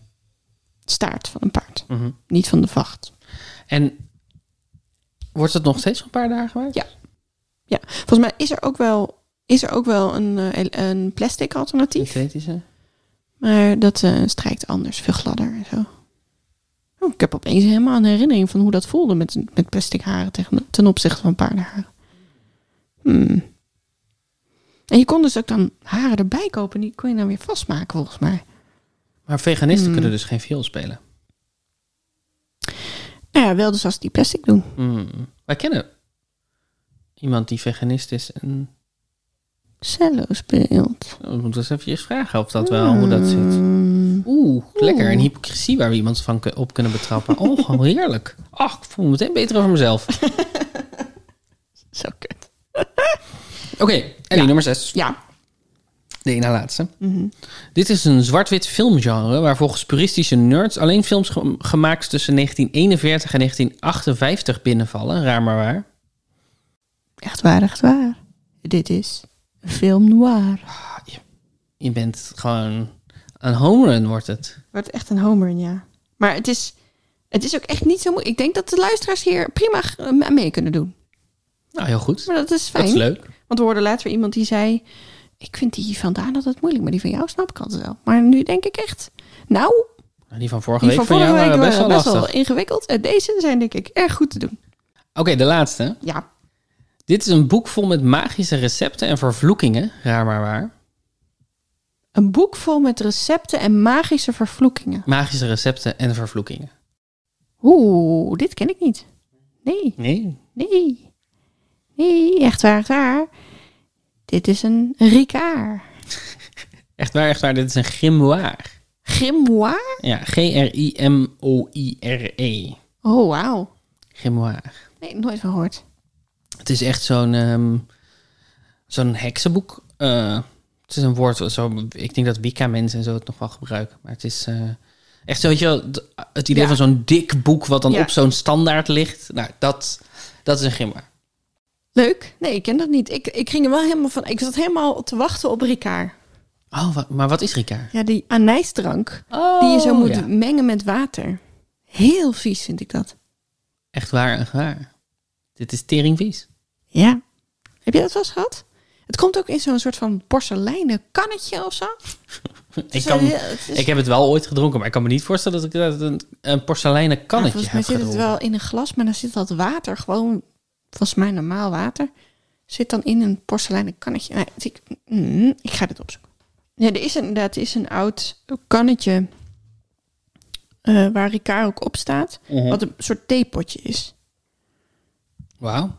[SPEAKER 1] staart van een paard.
[SPEAKER 2] Mhm.
[SPEAKER 1] Niet van de vacht.
[SPEAKER 2] En wordt het nog steeds een paar dagen gewaard?
[SPEAKER 1] Ja. Ja, volgens mij is er ook wel, is er ook wel een, eh, el- een plastic alternatief.
[SPEAKER 2] Synthetische.
[SPEAKER 1] Maar dat eh, strijkt anders, veel gladder en zo. Oh, ik heb opeens helemaal een herinnering van hoe dat voelde met, met plastic haren tegen, ten opzichte van paardenharen. Hmm. En je kon dus ook dan haren erbij kopen. Die kon je dan weer vastmaken, volgens mij.
[SPEAKER 2] Maar veganisten
[SPEAKER 1] Mm.
[SPEAKER 2] kunnen dus geen viool spelen.
[SPEAKER 1] Nou ja, wel dus als die plastic doen.
[SPEAKER 2] Mm. Wij kennen Hmm. Iemand die veganist is. En, oh,
[SPEAKER 1] Cello speelt.
[SPEAKER 2] we moeten eens even vragen of dat wel, hoe dat zit.
[SPEAKER 1] Mm.
[SPEAKER 2] Oeh, lekker. Een hypocrisie waar we iemand van ku- op kunnen betrappen. Oh, gewoon heerlijk. Ach, ik voel me meteen beter over mezelf.
[SPEAKER 1] Zo kut.
[SPEAKER 2] Oké, Ellie, nummer 6.
[SPEAKER 1] Ja. Mhm.
[SPEAKER 2] De ene na laatste. Dit is een zwart-wit filmgenre waar volgens puristische nerds alleen films ge- gemaakt tussen 1941 en 1958 binnenvallen. Raar maar waar.
[SPEAKER 1] Echt waar, echt waar. Dit is film noir.
[SPEAKER 2] Ah, Je bent gewoon een home run wordt het.
[SPEAKER 1] Wordt echt een homer, ja. Maar het is, het is ook echt niet zo moeilijk. Ik denk dat de luisteraars hier prima g- aan mee kunnen doen.
[SPEAKER 2] Nou, heel goed.
[SPEAKER 1] Maar dat is fijn.
[SPEAKER 2] Dat is leuk.
[SPEAKER 1] Want we hoorden later iemand die zei... Ik vind die van Daan altijd moeilijk, maar die van jou snap ik altijd wel. Maar nu denk ik echt... Nou,
[SPEAKER 2] Nou, Die van vorige
[SPEAKER 1] die
[SPEAKER 2] week
[SPEAKER 1] van
[SPEAKER 2] van
[SPEAKER 1] vorige
[SPEAKER 2] jou
[SPEAKER 1] week
[SPEAKER 2] waren best wel
[SPEAKER 1] waren best
[SPEAKER 2] lastig.
[SPEAKER 1] wel ingewikkeld. En deze zijn denk ik erg goed te doen.
[SPEAKER 2] Oké, de laatste.
[SPEAKER 1] Ja,
[SPEAKER 2] Dit is een boek vol met magische recepten en vervloekingen. Raar maar waar.
[SPEAKER 1] een boek vol met recepten en magische vervloekingen.
[SPEAKER 2] Magische recepten en vervloekingen.
[SPEAKER 1] Oeh, dit ken ik niet. Nee,
[SPEAKER 2] Nee.
[SPEAKER 1] nee. Nee, echt waar, echt waar. Dit is een Ricard.
[SPEAKER 2] Echt waar, echt waar. Dit is een grimoire.
[SPEAKER 1] Grimoire?
[SPEAKER 2] Ja, G-R-I-M-O-I-R-E.
[SPEAKER 1] Oh, wauw.
[SPEAKER 2] E. Grimoire.
[SPEAKER 1] Nee, nooit van gehoord.
[SPEAKER 2] Het is echt zo'n ehm, zo'n heksenboek. Eh, het is een woord, wat zo, ik denk dat Wicca-mensen en zo het nog wel gebruiken. Maar het is eh, echt zo, weet je wel, d- het idee
[SPEAKER 1] Ja.
[SPEAKER 2] van zo'n dik boek wat dan
[SPEAKER 1] Ja.
[SPEAKER 2] op zo'n standaard ligt. Nou, dat, dat is een grimoire.
[SPEAKER 1] Leuk. Nee, ik ken dat niet. Ik, ik ging er wel helemaal van... Ik zat helemaal te wachten op Ricard.
[SPEAKER 2] Oh, wa- maar wat is Ricard?
[SPEAKER 1] Ja, die anijsdrank
[SPEAKER 2] Oh,
[SPEAKER 1] die je zo moet
[SPEAKER 2] ja.
[SPEAKER 1] mengen met water. Heel vies vind ik dat.
[SPEAKER 2] Echt waar, echt waar. Dit is teringvies.
[SPEAKER 1] Ja. Heb je dat wel eens gehad? Het komt ook in zo'n soort van porseleinen kannetje of zo.
[SPEAKER 2] Ik,
[SPEAKER 1] is
[SPEAKER 2] kan,
[SPEAKER 1] wel heel- het is-
[SPEAKER 2] ik heb het wel ooit gedronken, maar ik kan me niet voorstellen dat ik dat een, een porseleinen
[SPEAKER 1] Ja,
[SPEAKER 2] kannetje
[SPEAKER 1] Nou, volgens mij
[SPEAKER 2] heb
[SPEAKER 1] zit
[SPEAKER 2] gedronken.
[SPEAKER 1] het wel in een glas, maar dan zit dat water gewoon, volgens mij normaal water, zit dan in een porseleinen kannetje. Nee, het- ik, mm, ik ga dit opzoeken. Ja, er is inderdaad er is een oud kannetje eh, waar Ricard ook op staat,
[SPEAKER 2] Mhm.
[SPEAKER 1] wat een soort theepotje is.
[SPEAKER 2] Wauw.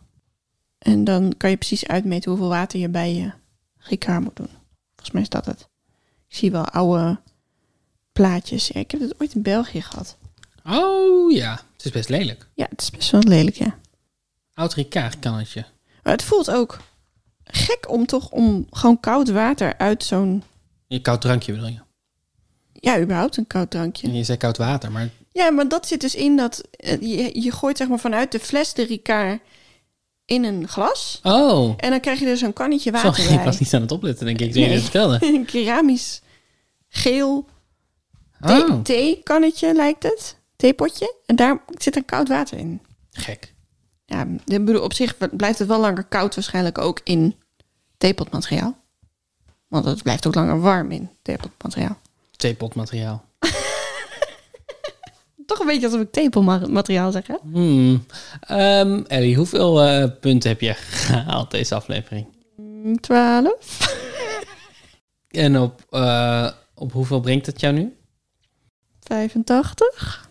[SPEAKER 1] En dan kan je precies uitmeten hoeveel water je bij je Ricard moet doen. Volgens mij is dat het. Ik zie wel oude plaatjes. Ja, ik heb dit ooit in België gehad.
[SPEAKER 2] Oh ja, het is best lelijk.
[SPEAKER 1] Ja, het is best wel lelijk, ja.
[SPEAKER 2] Oud Ricard kannetje.
[SPEAKER 1] Maar het voelt ook gek om toch om gewoon koud water uit zo'n...
[SPEAKER 2] Een koud drankje bedoel je?
[SPEAKER 1] Ja, überhaupt een koud drankje.
[SPEAKER 2] Je zei koud water, maar
[SPEAKER 1] Ja, maar dat zit dus in dat... eh, Je, je gooit zeg maar vanuit de fles de Ricard in een glas.
[SPEAKER 2] Oh,
[SPEAKER 1] En dan krijg je er zo'n kannetje
[SPEAKER 2] sorry,
[SPEAKER 1] water
[SPEAKER 2] ik was
[SPEAKER 1] bij.
[SPEAKER 2] niet aan het opletten, denk ik, toen je
[SPEAKER 1] Nee.
[SPEAKER 2] dit vertelde.
[SPEAKER 1] Een keramisch geel thee,
[SPEAKER 2] Oh,
[SPEAKER 1] theekannetje lijkt het. Theepotje. En daar zit dan koud water in.
[SPEAKER 2] gek.
[SPEAKER 1] Ja, ik bedoel, op zich blijft het wel langer koud waarschijnlijk ook in theepotmateriaal. Want het blijft ook langer warm in theepotmateriaal.
[SPEAKER 2] Theepotmateriaal.
[SPEAKER 1] Toch een beetje alsof ik tepelmateriaal zeg, hè?
[SPEAKER 2] Hmm. Ehm, Ellie, hoeveel eh, punten heb je gehaald deze aflevering?
[SPEAKER 1] Mm, 12.
[SPEAKER 2] En op, eh, op hoeveel brengt het jou nu?
[SPEAKER 1] 85.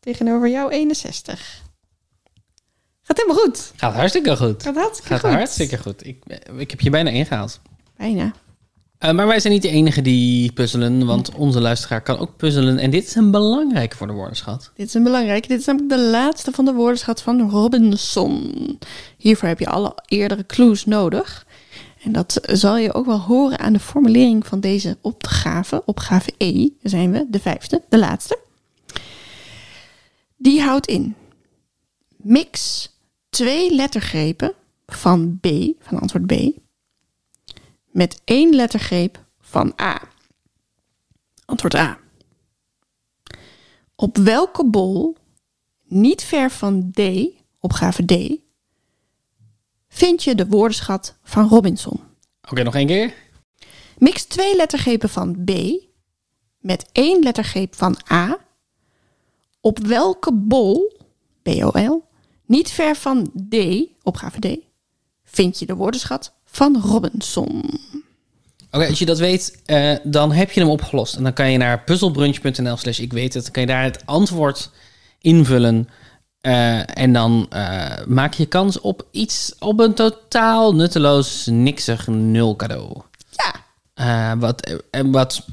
[SPEAKER 1] Tegenover jou 61. Gaat helemaal goed.
[SPEAKER 2] Gaat hartstikke goed.
[SPEAKER 1] Gaat hartstikke
[SPEAKER 2] Gaat
[SPEAKER 1] goed.
[SPEAKER 2] hartstikke goed. Ik, ik heb je bijna ingehaald.
[SPEAKER 1] Bijna.
[SPEAKER 2] Eh, maar wij zijn niet de enige die puzzelen, want onze luisteraar kan ook puzzelen. En dit is een belangrijke voor de woordenschat.
[SPEAKER 1] Dit is een belangrijke. Dit is namelijk de laatste van de woordenschat van Robinson. Hiervoor heb je alle eerdere clues nodig. En dat zal je ook wel horen aan de formulering van deze opgave. Opgave E daar zijn we, de vijfde, de laatste. Die houdt in. Mix twee lettergrepen van B, van antwoord B, met één lettergreep van A. Antwoord A. Op welke bol, niet ver van D, opgave D, vind je de woordenschat van Robinson?
[SPEAKER 2] Oké, nog één keer.
[SPEAKER 1] Mix twee lettergrepen van B met één lettergreep van A. Op welke bol, B-O-L, niet ver van D, opgave D, vind je de woordenschat van Robinson?
[SPEAKER 2] Oké, als je dat weet, eh, dan heb je hem opgelost. En dan kan je naar puzzelbrunch.nl slash ik weet het. Dan kan je daar het antwoord invullen. Eh, Eh, en dan eh, maak je kans op iets, op een totaal nutteloos, niksig nul cadeau.
[SPEAKER 1] Ja.
[SPEAKER 2] Eh, wat, en wat,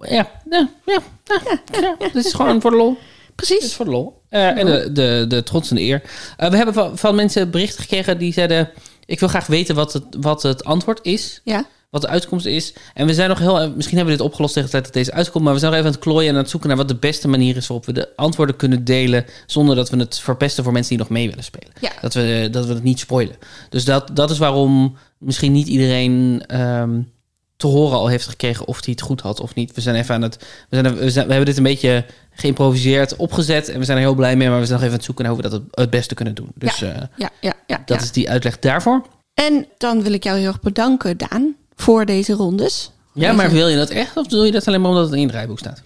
[SPEAKER 2] ja, ja, ja, ja, ja. Dit is gewoon voor de lol. Dit is
[SPEAKER 1] Precies.
[SPEAKER 2] voor de lol. Eh, en de, de, de trots en de eer. Eh, we hebben van, van mensen berichten gekregen die zeiden... ik wil graag weten wat het, wat het antwoord is.
[SPEAKER 1] Ja.
[SPEAKER 2] Wat de uitkomst is. En we zijn nog heel... eh, Misschien hebben we dit opgelost tegen de tijd dat deze uitkomt... maar we zijn nog even aan het klooien en aan het zoeken... naar wat de beste manier is waarop we de antwoorden kunnen delen... zonder dat we het verpesten voor mensen die nog mee willen spelen.
[SPEAKER 1] Ja.
[SPEAKER 2] Dat, we, eh, dat we het niet spoilen. Dus dat, dat is waarom misschien niet iedereen... ehm, te horen al heeft gekregen of hij het goed had of niet. We zijn even aan het. We, zijn, we, zijn- we hebben dit een beetje geïmproviseerd, opgezet. En we zijn er heel blij mee. Maar we zijn nog even aan het zoeken naar hoe we dat het, het beste kunnen doen. Dus eh,
[SPEAKER 1] Ja, ja, ja.
[SPEAKER 2] dat
[SPEAKER 1] ja.
[SPEAKER 2] is die uitleg daarvoor.
[SPEAKER 1] En dan wil ik jou heel erg bedanken, Daan, voor deze rondes.
[SPEAKER 2] Ja, maar wil je dat echt? Of doe je dat alleen maar omdat het in het draaiboek staat?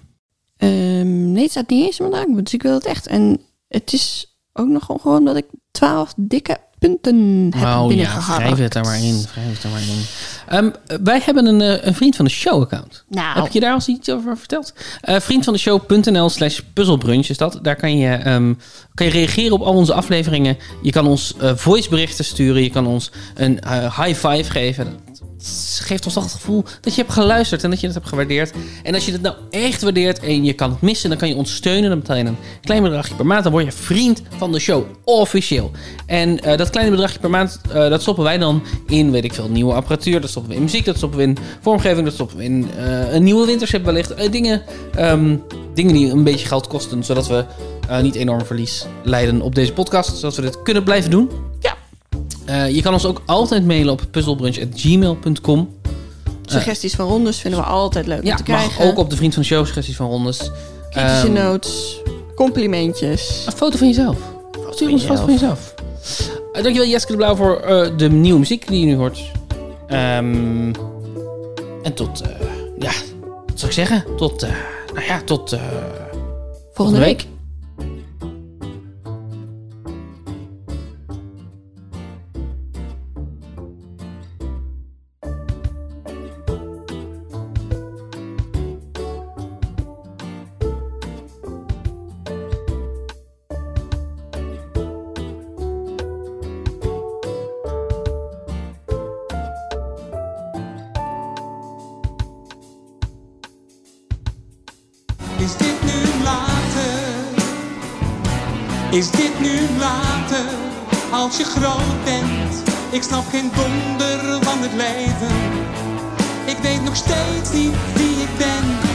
[SPEAKER 1] Ehm, nee, het staat niet eens in mijn draaiboek, dus ik wil het echt. En het is ook nog gewoon dat ik twaalf dikke punten heb
[SPEAKER 2] Nou ja,
[SPEAKER 1] binnengeharkt.
[SPEAKER 2] schrijf het er maar in. Schrijf het er maar in. Ehm, wij hebben een, eh, een vriend van de show-account.
[SPEAKER 1] Nou,
[SPEAKER 2] Heb ik je daar al eens iets over verteld? Eh vriendvandeshow.nl slash puzzelbrunch is dat. Daar kan je, ehm, kan je reageren op al onze afleveringen. Je kan ons eh, voiceberichten sturen. Je kan ons een eh, high five geven. Dat geeft ons toch het gevoel dat je hebt geluisterd en dat je het hebt gewaardeerd. En als je het nou echt waardeert en je kan het missen, dan kan je ons steunen. Dan betaal je een klein bedragje per maand. Dan word je vriend van de show, officieel. En eh, dat kleine bedragje per maand, eh, dat stoppen wij dan in, weet ik veel, nieuwe apparatuur. Dat stoppen we in muziek, dat stoppen we in vormgeving, dat stoppen we in eh, een nieuwe wintership wellicht. Eh, dingen, ehm, dingen die een beetje geld kosten, zodat we eh, niet enorm verlies leiden op deze podcast. Zodat we dit kunnen blijven doen.
[SPEAKER 1] Ja.
[SPEAKER 2] Eh, je kan ons ook altijd mailen op puzzelbrunch.gmail.com.
[SPEAKER 1] suggesties van rondes vinden we altijd leuk om
[SPEAKER 2] Ja,
[SPEAKER 1] te
[SPEAKER 2] mag
[SPEAKER 1] krijgen.
[SPEAKER 2] ook op de Vriend van de Show suggesties van rondes.
[SPEAKER 1] Kritische
[SPEAKER 2] Ehm,
[SPEAKER 1] notes, complimentjes.
[SPEAKER 2] Een foto van jezelf. Stuur ons een foto van jezelf. Eh, dankjewel Jeske de Blauw voor eh, de nieuwe muziek die je nu hoort. Ehm, en tot, eh, ja, wat zou ik zeggen? Tot, eh, nou ja, tot eh,
[SPEAKER 1] Volgende week.
[SPEAKER 3] Is dit nu later? Is dit nu later? Als je groot bent, ik snap geen donder van het leven. Ik weet nog steeds niet wie ik ben.